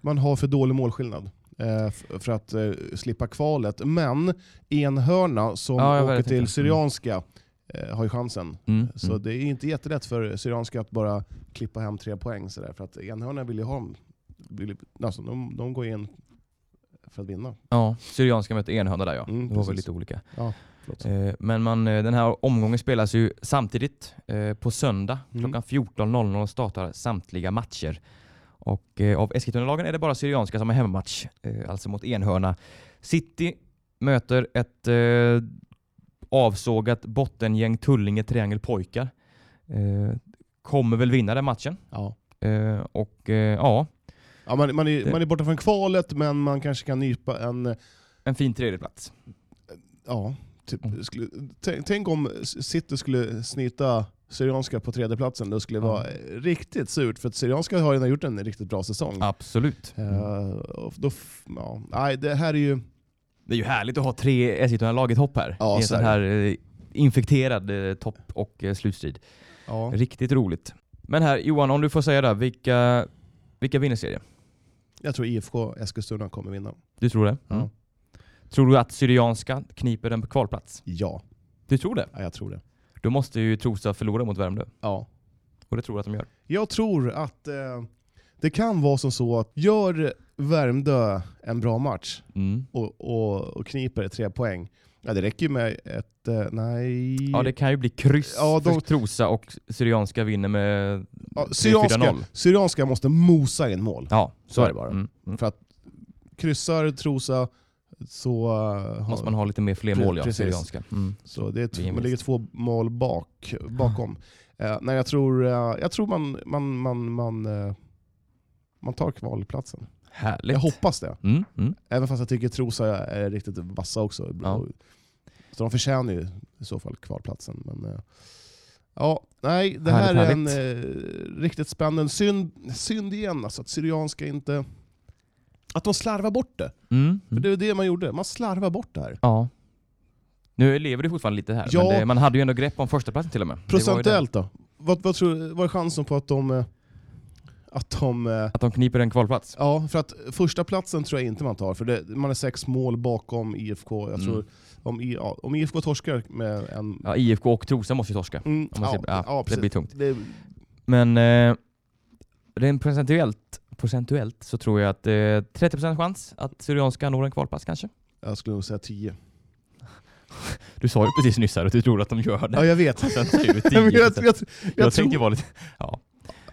Speaker 3: man har för dålig målskillnad eh, f- för att eh, slippa kvalet. Men enhörna som
Speaker 2: Ja, jag
Speaker 3: åker
Speaker 2: vet
Speaker 3: till
Speaker 9: Mm.
Speaker 2: inte.
Speaker 3: Syrianska eh, har ju chansen.
Speaker 2: Mm,
Speaker 3: Så
Speaker 2: mm.
Speaker 3: det är inte jättelätt för Syrianska att bara klippa hem tre poäng. Så där, för att enhörna vill ju ha dem. Vill, ju- alltså, de, de går in för att vinna.
Speaker 2: Ja, Syrianska möter Enhörna där ja.
Speaker 3: Mm,
Speaker 2: det var väl
Speaker 3: precis.
Speaker 2: lite olika.
Speaker 3: Ja, förlåt.
Speaker 2: Eh, men man, eh, den här omgången spelas ju samtidigt eh, på söndag.
Speaker 3: Mm.
Speaker 2: Klockan 14.00 startar samtliga matcher. Och eh, av Eskilstuna-lagen är det bara Syrianska som har hemmamatch, eh, alltså mot Enhörna. City möter ett eh, avsågat bottengäng Tullinge Triangel Pojkar. Eh, kommer väl vinna den matchen.
Speaker 3: Ja.
Speaker 2: Eh, och eh, ja,
Speaker 3: Ja, man, man, är,
Speaker 2: Det-
Speaker 3: man är borta från kvalet, men man kanske kan nypa en eh,
Speaker 2: en fin tredjeplats.
Speaker 3: Ja, typ,
Speaker 2: Mm.
Speaker 3: skulle, tänk, tänk om City skulle snita Syrianska på tredjeplatsen. Det skulle
Speaker 2: Ja.
Speaker 3: vara riktigt surt, för att Syrianska har redan gjort en riktigt bra säsong.
Speaker 2: Absolut.
Speaker 3: Eh, och då, f- ja, nej, det här är ju...
Speaker 2: Det är ju härligt att ha tre Eskilstuna-laget hopp här
Speaker 3: Ja,
Speaker 2: i en
Speaker 3: så
Speaker 2: sån
Speaker 3: är
Speaker 2: här eh, infekterad eh, topp och eh, slutstrid.
Speaker 3: Ja.
Speaker 2: Riktigt roligt. Men här Johan, om du får säga där, vilka, vilka vinner serien?
Speaker 3: Jag tror IFK Eskilstuna kommer vinna.
Speaker 2: Du tror det? Mm.
Speaker 3: Ja.
Speaker 2: Tror du att Syrianska kniper en kvalplats?
Speaker 3: Ja,
Speaker 2: Du tror det?
Speaker 3: ja, jag tror det.
Speaker 2: Då måste ju Trosa förlora mot Värmdö.
Speaker 3: Ja.
Speaker 2: Och det tror jag att de gör.
Speaker 3: Jag tror att eh, det kan vara som så att gör Värmdö en bra match
Speaker 2: Mm.
Speaker 3: och, och, och kniper tre poäng, ja, det räcker ju med ett... Eh, nej...
Speaker 2: Ja, det kan ju bli kryss
Speaker 3: Ja, de-
Speaker 2: för Trosa och Syrianska vinner med...
Speaker 3: Ja,
Speaker 2: 3-4-0.
Speaker 3: Syrianska, Syrianska måste mosa in mål.
Speaker 2: Ja, så Mm.
Speaker 3: Så
Speaker 2: är
Speaker 3: är
Speaker 2: det bara.
Speaker 3: det bara.
Speaker 2: Mm. Mm.
Speaker 3: För att kryssar Trosa Så, eh, har-
Speaker 2: Måste man ha lite mer fler mål, ja.
Speaker 3: Precis.
Speaker 2: Syrianska. Mm.
Speaker 3: så det är
Speaker 2: Vi är
Speaker 3: t- man
Speaker 2: minst.
Speaker 3: ligger två mål bak, bakom. Eh, nej, jag tror, eh, jag tror man, man, man, man, eh, man tar kvalplatsen.
Speaker 2: Härligt.
Speaker 3: Jag hoppas det.
Speaker 2: Mm, mm.
Speaker 3: Även fast jag tycker Trosa är riktigt vassa också.
Speaker 2: Ja.
Speaker 3: Så de förtjänar ju i så fall kvalplatsen. Men, eh, ja, nej, det här
Speaker 2: Härligt,
Speaker 3: är en eh, riktigt spännande... Synd, synd igen alltså, att Syrianska inte... Att de slarvar bort det.
Speaker 2: Mm,
Speaker 3: För
Speaker 2: mm.
Speaker 3: det är det man gjorde. Man slarvar bort det här.
Speaker 2: Ja. Nu lever det fortfarande lite här,
Speaker 3: Ja.
Speaker 2: men det, man hade ju ändå grepp om första platsen till och med. Det var ju det.
Speaker 3: Procentuellt då? Vad, vad, tror, vad är chansen på att de... eh, Att de eh,
Speaker 2: Att de kniper en kvalplats.
Speaker 3: Ja, för att första platsen tror jag inte man tar, för det, man är sex mål bakom IFK. Jag
Speaker 2: Mm.
Speaker 3: tror, om, I, ja, om IFK torskar med en...
Speaker 2: Ja, IFK och Trosa måste ju torska.
Speaker 3: Mm,
Speaker 2: Om man ser, ja, det
Speaker 3: precis.
Speaker 2: blir tungt.
Speaker 3: Det,
Speaker 2: Men eh, rent procentuellt, procentuellt så tror jag att eh, 30% chans att Syrianska når en kvalplats kanske.
Speaker 3: jag skulle nog säga 10.
Speaker 2: Du sa ju precis nyss här att du tror att de gör det.
Speaker 3: Ja,
Speaker 2: [LAUGHS]
Speaker 3: jag vet.
Speaker 2: Sen säger du 10%.
Speaker 3: Men [LAUGHS] jag, jag, jag,
Speaker 2: Jag
Speaker 3: tror...
Speaker 2: tänker vara lite...
Speaker 3: Ja,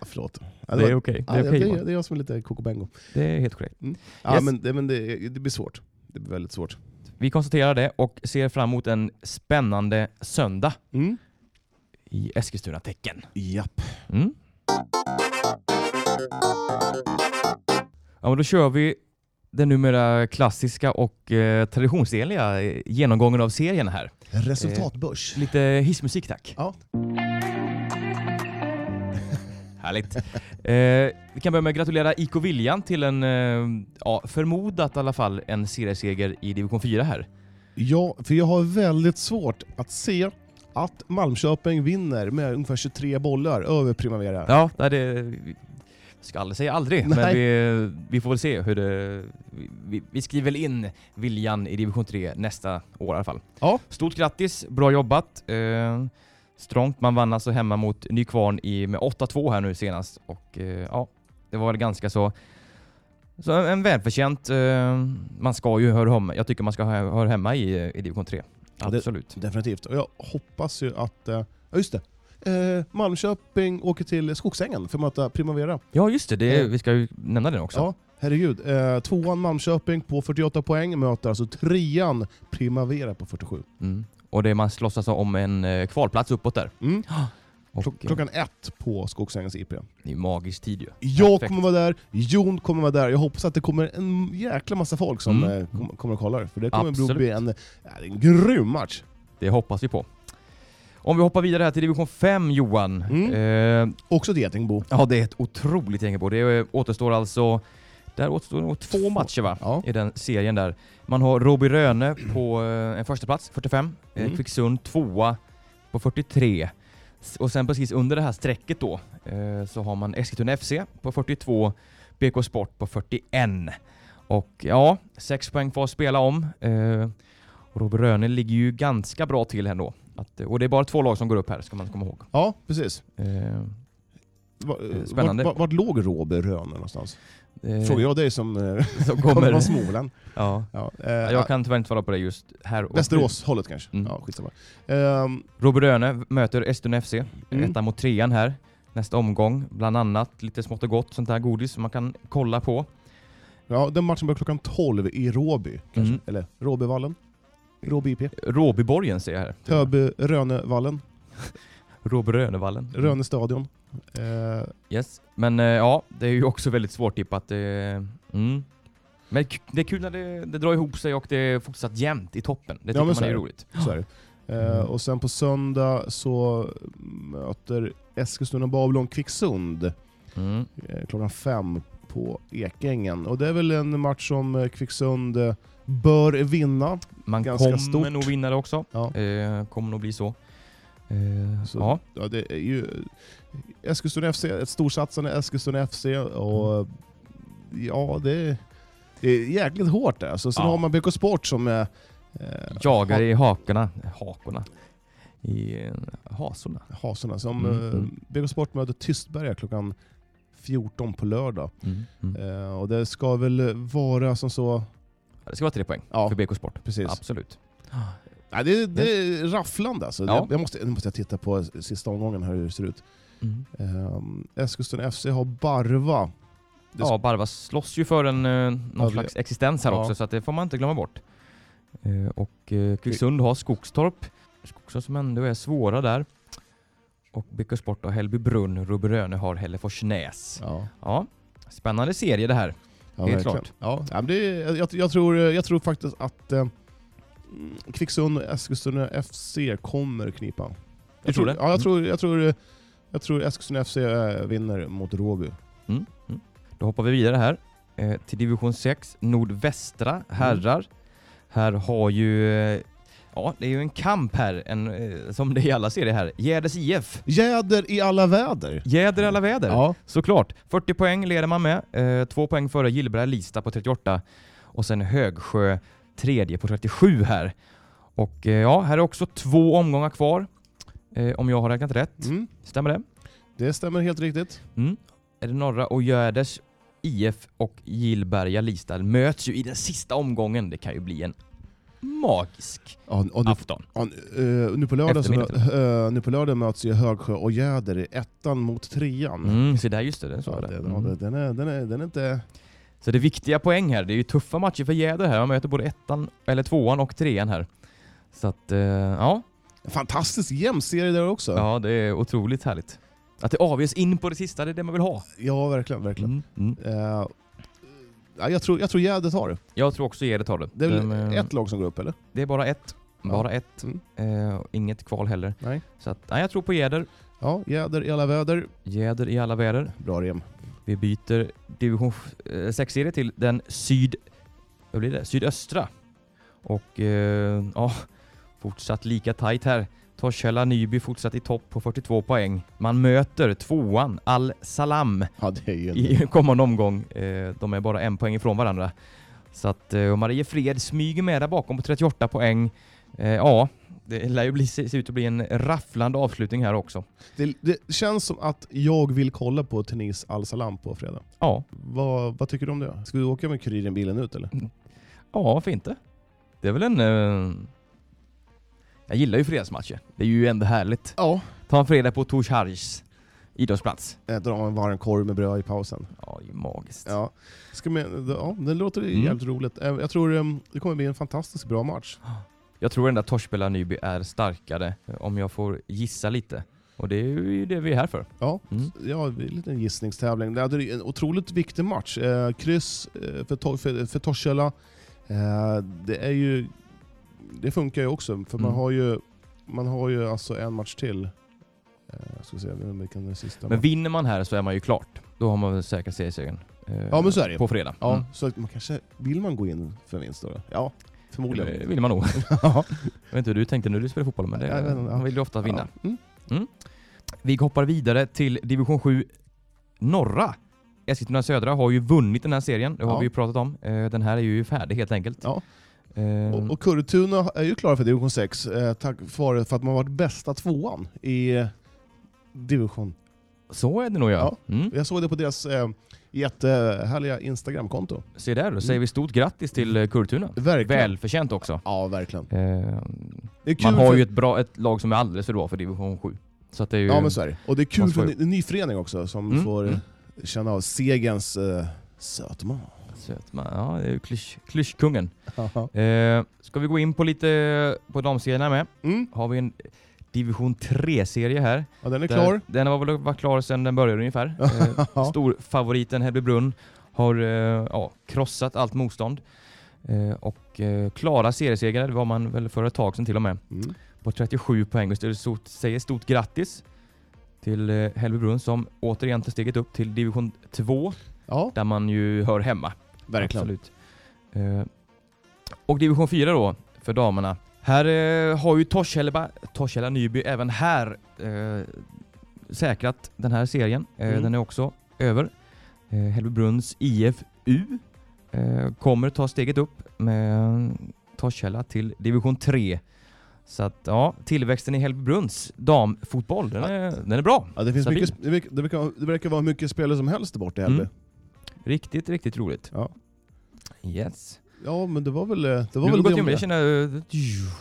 Speaker 3: Förlåt. Ja,
Speaker 2: Det är okej.
Speaker 3: ja,
Speaker 2: Det är okej
Speaker 3: det,
Speaker 2: Johan.
Speaker 3: det är jag som är lite koko-bengo.
Speaker 2: Det är helt korrekt.
Speaker 3: Ja,
Speaker 2: Yes.
Speaker 3: men, det, men det, det blir svårt. Det blir väldigt svårt.
Speaker 2: Vi konstaterar det och ser fram emot en spännande söndag
Speaker 3: Mm.
Speaker 2: i Eskilstuna-Tecken.
Speaker 3: Japp.
Speaker 2: Mm. Ja, men då kör vi den numera klassiska och eh, traditionsenliga eh, genomgången av serien här.
Speaker 3: Resultatbörs.
Speaker 2: Lite hissmusik tack.
Speaker 3: Eh. Ja.
Speaker 2: Härligt. Eh, vi kan börja med att gratulera IK Viljan till en, eh, ja, förmodat i alla fall, en serieseger i division 4 här.
Speaker 3: Ja, för jag har väldigt svårt att se att Malmköping vinner med ungefär 23 bollar över Primavera.
Speaker 2: Ja, nej, det... Vi ska aldrig säga aldrig, men
Speaker 3: Nej.
Speaker 2: vi, vi får väl se hur det... vi- Vi, vi skriver väl in Viljan i division 3 nästa år i alla fall.
Speaker 3: Ja.
Speaker 2: Stort grattis, bra jobbat. Eh, strångt, man vann alltså hemma mot Nykvarn i, med 8-2 här nu senast. Och eh, ja, det var väl ganska så... Så en, en välförtjänt... Eh, man ska ju höra hemma. Jag tycker man ska hö- höra hemma i, eh, i division 3.
Speaker 3: Ja, det-
Speaker 2: Absolut.
Speaker 3: Definitivt. Och jag hoppas ju att... eh, Ja, just det. Eh, Malmköping åker till Skogsängen för att möta Primavera.
Speaker 2: Ja, just det. det
Speaker 3: Eh.
Speaker 2: vi ska ju nämna den också.
Speaker 3: Ja, herregud. Eh, tvåan Malmköping på 48 poäng möter alltså trean Primavera på 47.
Speaker 2: Mm. Och det man slåss alltså om en eh, kvalplats uppåt där.
Speaker 3: Mm.
Speaker 2: [GASPS] Och,
Speaker 3: Klock-
Speaker 2: eh,
Speaker 3: Klockan ett på Skogsängens IP.
Speaker 2: Det är magisk tid ju.
Speaker 3: Jag
Speaker 2: Perfekt.
Speaker 3: kommer vara där, Jon kommer vara där. Jag hoppas att det kommer en jäkla massa folk som
Speaker 2: Mm.
Speaker 3: eh, kom, kommer och kollar. För det kommer
Speaker 2: Absolut.
Speaker 3: bli en, ja, det är en grym match.
Speaker 2: Det hoppas vi på. Om vi hoppar vidare här till division 5 Johan.
Speaker 3: Mm.
Speaker 2: Eh,
Speaker 3: Också till Getingbo.
Speaker 2: ja, det är ett otroligt gäng på. Det eh, återstår alltså... Där återstår nog två,
Speaker 3: Två.
Speaker 2: matcher va?
Speaker 3: Ja.
Speaker 2: I den serien där. Man har Roby Röne på eh, en första plats 45.
Speaker 3: Mm.
Speaker 2: Eh, Kvicksund tvåa på 43. S- Och sen precis under det här strecket då eh, så har man Eskilstuna FC på 42, BK Sport på 41. Och ja, sex poäng kvar att spela om. Eh, och Robert Röne ligger ju ganska bra till här ändå. Att, eh, och det är bara två lag som går upp här, ska man komma ihåg.
Speaker 3: Ja, precis.
Speaker 2: Eh,
Speaker 3: Va- eh,
Speaker 2: Spännande.
Speaker 3: Vart, vart, vart låg Robert Röne någonstans?
Speaker 2: eh,
Speaker 3: Frågar jag dig som eh,
Speaker 2: som
Speaker 3: [LAUGHS] kommer från
Speaker 2: kommer.
Speaker 3: Småland.
Speaker 2: Ja.
Speaker 3: Ja, eh,
Speaker 2: Ja, Jag kan tyvärr inte svara på det just här. och nu.
Speaker 3: Västerås-hållet kanske?
Speaker 2: Mm.
Speaker 3: Ja, skitsamma. Ehm,
Speaker 2: Robert Röne möter Eskilstuna FC.
Speaker 3: Mm.
Speaker 2: Ettan mot trean här. Nästa omgång. Bland annat lite smått och gott, sånt där godis som man kan kolla på.
Speaker 3: ja, den matchen börjar klockan 12 i Råby, kanske.
Speaker 2: Mm.
Speaker 3: Eller Råbyvallen. Råby IP.
Speaker 2: Råbyborgen ser jag här.
Speaker 3: Höby, Rönevallen.
Speaker 2: Robert Rönevallen. Mm.
Speaker 3: Rönne stadion. Eh,
Speaker 2: Yes. Men eh, ja, det är ju också väldigt svårtippat. Eh, mm. Men k- det är kul när det, det drar ihop sig och det är fortsatt jämnt i toppen. Det tycker
Speaker 3: men
Speaker 2: man
Speaker 3: så
Speaker 2: är
Speaker 3: är det.
Speaker 2: roligt.
Speaker 3: så är det. Eh, och sen på söndag så möter Eskilstuna Babylon Kvicksund
Speaker 2: Mm.
Speaker 3: eh, klockan fem på Ekängen. Och det är väl en match som eh, Kvicksund eh, bör vinna.
Speaker 2: Man
Speaker 3: Ganska
Speaker 2: kommer
Speaker 3: stort.
Speaker 2: nog vinna det också.
Speaker 3: Ja.
Speaker 2: Eh, kommer nog bli så. Eh,
Speaker 3: Så-
Speaker 2: Ja,
Speaker 3: Ja, det är ju Eskilstuna FC, ett storsatsande Eskilstuna FC och ja, det är, det är jäkligt hårt det. Alltså, sen
Speaker 2: Mm. Ja.
Speaker 3: har man BK Sport som är... Eh,
Speaker 2: jagar i hakorna. Hakorna. I eh, hasorna.
Speaker 3: ha- Hasorna. Som,
Speaker 2: Mm,
Speaker 3: eh,
Speaker 2: mm.
Speaker 3: BK Sport möter Tystberga klockan 14 på lördag.
Speaker 2: Mm. Mm.
Speaker 3: Eh, och det ska väl vara som så...
Speaker 2: Ja, Det ska vara tre poäng
Speaker 3: Ja,
Speaker 2: för BK Sport.
Speaker 3: precis.
Speaker 2: Absolut.
Speaker 3: Nej, det, det är rafflande alltså.
Speaker 2: Ja.
Speaker 3: Jag, jag måste, nu måste jag titta på sista omgången här hur det ser ut.
Speaker 2: Mm.
Speaker 3: Eh, Eskilstuna FC har Barva. Det
Speaker 2: Ja, Barva slåss ju för en, eh, någon
Speaker 3: Ja, det-
Speaker 2: slags existens här
Speaker 3: Ja.
Speaker 2: också så att det får man inte glömma bort. Eh, Och eh, Kvicksund har Skogstorp. Skogstorp som ändå är svåra där. Och BK Sport har Hällbybrunn. Röberöne har Hälleforsnäs.
Speaker 3: Ja,
Speaker 2: Ja, spännande serie det här.
Speaker 3: ja
Speaker 2: Helt
Speaker 3: verkligen.
Speaker 2: klart.
Speaker 3: Ja, ja, men det, är- jag, jag, tror, jag tror faktiskt att eh, Kvicksund och Eskilstuna FC kommer knipa.
Speaker 2: Du
Speaker 3: Jag
Speaker 2: tror det? Mm.
Speaker 3: Ja, jag tror, jag tror, jag tror Eskilstuna FC eh, vinner mot Råby.
Speaker 2: Mm. Mm. Då hoppar vi vidare här eh, till division 6, nordvästra herrar. Här har ju, eh, ja det är ju en kamp här, en, eh, som det är i alla serier här. Gärdes IF.
Speaker 3: Jäder i alla väder!
Speaker 2: Jäder i alla väder.
Speaker 3: Ja,
Speaker 2: Såklart. 40 poäng leder man med. Eh, två poäng före Gillberg Lista på 38 och sen Högsjö tredje på 37 här. Och eh, ja, här är också två omgångar kvar. Eh, om jag har räknat rätt.
Speaker 3: mm,
Speaker 2: Stämmer det?
Speaker 3: det stämmer helt riktigt.
Speaker 2: Mm. Är det norra och Gärdes IF och Gillberga Lista möts ju i den sista omgången. Det kan ju bli en magisk
Speaker 3: Ja, och nu,
Speaker 2: afton.
Speaker 3: ja, eh, nu, på lördag så,
Speaker 2: Eftermiddag. typ.
Speaker 3: eh, nu på lördag möts ju Högsjö och Jäder i ettan mot trean.
Speaker 2: Mm, så där just det, den sa
Speaker 3: Så
Speaker 2: jag det.
Speaker 3: det,
Speaker 2: Mm.
Speaker 3: den, är, den, är, den är inte...
Speaker 2: Så det är viktiga poäng här. Det är ju tuffa matcher för Gäder här. Man möter både ettan, eller tvåan och trean här. Så att, eh, ja.
Speaker 3: Fantastiskt jämn serie där också. Ja,
Speaker 2: Ja, det är otroligt härligt. Att det avgörs in på det sista, det är det man vill ha.
Speaker 3: verkligen. verkligen.
Speaker 2: Mm. Mm.
Speaker 3: Eh, ja, jag tror, jag tror Jäder tar det.
Speaker 2: Jag tror också Gävle tar det.
Speaker 3: Det är väl
Speaker 2: De, eh,
Speaker 3: ett lag som går upp, eller?
Speaker 2: det är bara ett.
Speaker 3: Ja.
Speaker 2: Bara ett.
Speaker 3: Mm.
Speaker 2: Eh, och inget kval heller.
Speaker 3: Nej.
Speaker 2: Så att, nej, jag tror på Gäder.
Speaker 3: Ja, Jäder i alla väder.
Speaker 2: Gäder i alla väder.
Speaker 3: Bra rem.
Speaker 2: Vi byter division 6-serie till den syd... Vad blir det? Sydöstra. Och eh, ja, fortsatt lika tajt här. Torshälla Nyby fortsatt i topp på 42 poäng. Man möter tvåan Al Salam
Speaker 3: Ja, det är ju en...
Speaker 2: i [LAUGHS] kommande omgång. Eh, de är bara en poäng ifrån varandra. Så att eh, och Mariefred smyger med där bakom på 38 poäng. Eh, ja, det lär ju bli, se se ut att bli en rafflande avslutning här också.
Speaker 3: Det, det känns som att jag vill kolla på Tunis Al Salam på fredag.
Speaker 2: Ja,
Speaker 3: Vad, vad tycker du om det? Ska vi åka med Kuriren-bilen ut eller?
Speaker 2: Ja, varför inte? Det är väl en... eh, Jag gillar ju fredagsmatcher. Det är ju ändå härligt.
Speaker 3: Ja.
Speaker 2: Ta en fredag på Tors Harjs idrottsplats.
Speaker 3: Eh, Dra en varm korv med bröd i pausen.
Speaker 2: Ja, det är ju magiskt.
Speaker 3: Ja, Ska med, ja det låter
Speaker 2: Mm.
Speaker 3: jävligt roligt. Eh, Jag tror eh, det kommer bli en fantastiskt bra match.
Speaker 2: Jag tror den där Torshälla Nyby är starkare, eh, om jag får gissa lite. Och det är ju det vi är här för.
Speaker 3: Ja,
Speaker 2: Mm.
Speaker 3: ja en liten gissningstävling. Det är en otroligt viktig match. Eh, kryss eh, för, Tor- för, för Torshälla. Eh, det är ju... Det funkar ju också, för man
Speaker 2: Mm.
Speaker 3: har ju, man har ju alltså en match till. Eh, ska vi se, vilken är den sista?
Speaker 2: Men vinner man här så är man ju klart. Då har man väl säkrat seriesegern. eh,
Speaker 3: Ja, men så är det ju.
Speaker 2: På fredag.
Speaker 3: Ja,
Speaker 2: Mm.
Speaker 3: så att man kanske, vill man gå in för vinst då? Ja,
Speaker 2: Det
Speaker 3: förmodligen.
Speaker 2: Eh, vill man nog.
Speaker 3: [LAUGHS]
Speaker 2: [LAUGHS]
Speaker 3: Ja.
Speaker 2: Jag vet inte hur du tänkte när du spelade fotboll, men det,
Speaker 3: Jag vet inte, ja.
Speaker 2: man vill ju ofta vinna.
Speaker 3: Ja. Mm.
Speaker 2: Vi hoppar vidare till division 7 norra. Eskilstuna Södra har ju vunnit den här serien, det har
Speaker 3: Ja.
Speaker 2: vi ju pratat om. Eh, Den här är ju färdig helt enkelt.
Speaker 3: Ja.
Speaker 2: Eh,
Speaker 3: Och, och Kurretuna är ju klara för division 6 eh, tack vare för att man varit bästa tvåan i eh, division.
Speaker 2: Så är det nog ja. Mm.
Speaker 3: Jag såg det på deras eh, jättehärliga Instagramkonto.
Speaker 2: Se där, då säger vi stort grattis till eh, Kurtuna.
Speaker 3: Verkligen.
Speaker 2: Välförtjänt också.
Speaker 3: Ja, verkligen.
Speaker 2: Eh,
Speaker 3: Det är kul
Speaker 2: Man har
Speaker 3: för,
Speaker 2: ju ett, bra, ett lag som är alldeles för bra för division 7. Så att det är ju...
Speaker 3: Ja, men så är det. Och det är kul
Speaker 2: Man
Speaker 3: för
Speaker 2: får
Speaker 3: en
Speaker 2: ju-
Speaker 3: ny- en ny förening också som
Speaker 2: Mm,
Speaker 3: får eh,
Speaker 2: mm.
Speaker 3: känna av segerns eh, sötma.
Speaker 2: Söt man. Ja, det är ju klysch, klyschkungen.
Speaker 3: Haha.
Speaker 2: Eh, Ska vi gå in på lite på damserierna med?
Speaker 3: Mm.
Speaker 2: Har vi en division 3-serie här.
Speaker 3: Ja, den är
Speaker 2: Där-
Speaker 3: klar.
Speaker 2: Den var väl var klar sedan den började
Speaker 3: [LAUGHS]
Speaker 2: ungefär. Eh, Storfavoriten Hällbybrunn har eh, ja, krossat allt motstånd. Eh, och eh, klara seriesegrar, det var man väl för ett tag sedan till och med,
Speaker 3: Mm.
Speaker 2: på 37 poäng. Och det stort, säger stort grattis till eh, Hällbybrunn som återigen tar steget upp till division 2,
Speaker 3: Ja,
Speaker 2: där man ju hör hemma.
Speaker 3: verkligen.
Speaker 2: Absolut. Eh, och division 4 då, för damerna. Här eh, har ju Torshälla, Torshälla Nyby även här eh, säkrat den här serien. Eh,
Speaker 3: Mm.
Speaker 2: Den är också över. Eh, Hällbybrunns IFU eh, kommer ta steget upp med Torshälla till division 3. Så att ja, tillväxten i Hällbybrunns damfotboll, den är, den är bra.
Speaker 3: Ja, det, finns
Speaker 2: Stabil.
Speaker 3: mycket, sp- det, verkar, det, verkar, det verkar vara mycket spelare som helst där borta i Hällby.
Speaker 2: Mm. Riktigt, riktigt roligt.
Speaker 3: Ja.
Speaker 2: Yes.
Speaker 3: Ja, men det var väl eh, det. Var
Speaker 2: nu har
Speaker 3: väl
Speaker 2: vi gått
Speaker 3: det
Speaker 2: in
Speaker 3: om
Speaker 2: med,
Speaker 3: det. Mm.
Speaker 2: jag känner... eh,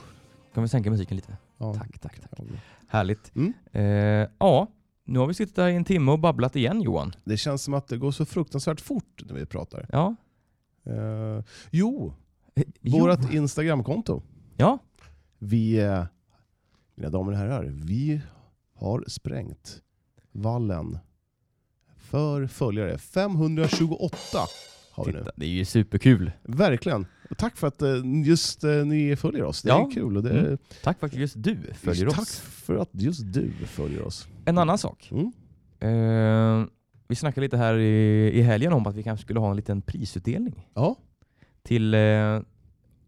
Speaker 2: Kan vi sänka musiken lite?
Speaker 3: Ja.
Speaker 2: Tack, tack, tack.
Speaker 3: Ja,
Speaker 2: Härligt.
Speaker 3: Mm.
Speaker 2: Eh, ja, nu har vi suttit här i en timme och babblat igen Johan.
Speaker 3: Det känns som att det går så fruktansvärt fort när vi pratar.
Speaker 2: Ja,
Speaker 3: Eh, jo,
Speaker 2: Jo.
Speaker 3: Vårt Instagramkonto.
Speaker 2: Ja,
Speaker 3: Vi, eh, mina damer och herrar, vi har sprängt vallen för följare. 528 har vi nu.
Speaker 2: titta, det är ju superkul.
Speaker 3: Verkligen. Och Tack för att eh, just eh, ni följer oss. Det
Speaker 2: Ja.
Speaker 3: är kul. Och det
Speaker 2: Mm. Tack för att just du följer
Speaker 3: Tack
Speaker 2: oss.
Speaker 3: för att just du följer oss.
Speaker 2: En annan sak.
Speaker 3: Mm.
Speaker 2: Eh, vi snackade lite här i, i helgen om att vi kanske skulle ha en liten prisutdelning
Speaker 3: Ja.
Speaker 2: till eh,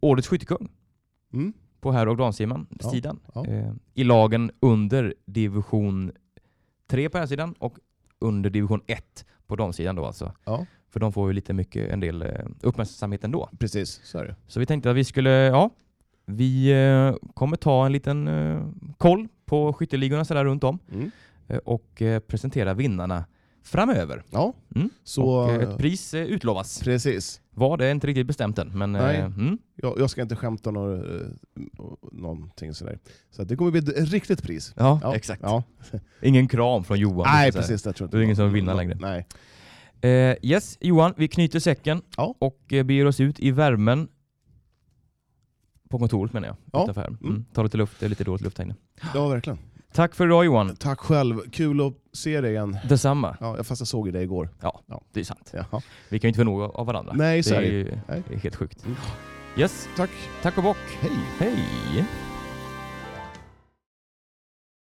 Speaker 2: Årets skyttekung
Speaker 3: Mm.
Speaker 2: på herr och damsidan.
Speaker 3: Ja, ja.
Speaker 2: Eh, I lagen under division 3 på herrsidan och under division 1 på damsidan då alltså.
Speaker 3: Ja.
Speaker 2: För de får ju lite mycket, en del eh, uppmärksamhet ändå.
Speaker 3: Precis, så är det.
Speaker 2: Så vi tänkte att vi skulle, ja, vi eh, kommer ta en liten eh, koll på skytteligorna sådär runt om
Speaker 3: Mm.
Speaker 2: eh, och eh, presentera vinnarna framöver.
Speaker 3: Ja.
Speaker 2: Mm.
Speaker 3: Så,
Speaker 2: och, eh, ett pris eh, utlovas.
Speaker 3: precis.
Speaker 2: Vad är inte riktigt bestämt än, men
Speaker 3: Nej.
Speaker 2: eh, mm,
Speaker 3: Jag, jag ska inte skämta några, eh, någonting sådär. Så att det kommer bli ett riktigt pris.
Speaker 2: ja,
Speaker 3: Ja.
Speaker 2: exakt.
Speaker 3: Ja.
Speaker 2: Ingen kram från Johan.
Speaker 3: Nej,
Speaker 2: liksom så här.
Speaker 3: precis. Det tror jag
Speaker 2: Då är det ingen som vinner längre.
Speaker 3: Nej.
Speaker 2: Eh, yes, Johan, vi knyter säcken
Speaker 3: Ja.
Speaker 2: och eh, beger oss ut i värmen. På kontoret menar jag.
Speaker 3: Ja.
Speaker 2: Utanför här. Mm.
Speaker 3: Mm.
Speaker 2: Ta lite luft, det är lite dåligt luft här inne.
Speaker 3: Ja, verkligen.
Speaker 2: Tack för idag Johan.
Speaker 3: Tack själv. Kul att se dig igen.
Speaker 2: Detsamma.
Speaker 3: Ja, fast jag såg ju dig igår.
Speaker 2: Det är sant.
Speaker 3: Ja.
Speaker 2: Vi kan ju inte få nog av varandra.
Speaker 3: Nej, så är det
Speaker 2: ju-
Speaker 3: Nej.
Speaker 2: det är helt sjukt.
Speaker 3: Mm.
Speaker 2: Yes,
Speaker 3: Tack.
Speaker 2: tack och bock.
Speaker 3: Hej.
Speaker 2: Hej!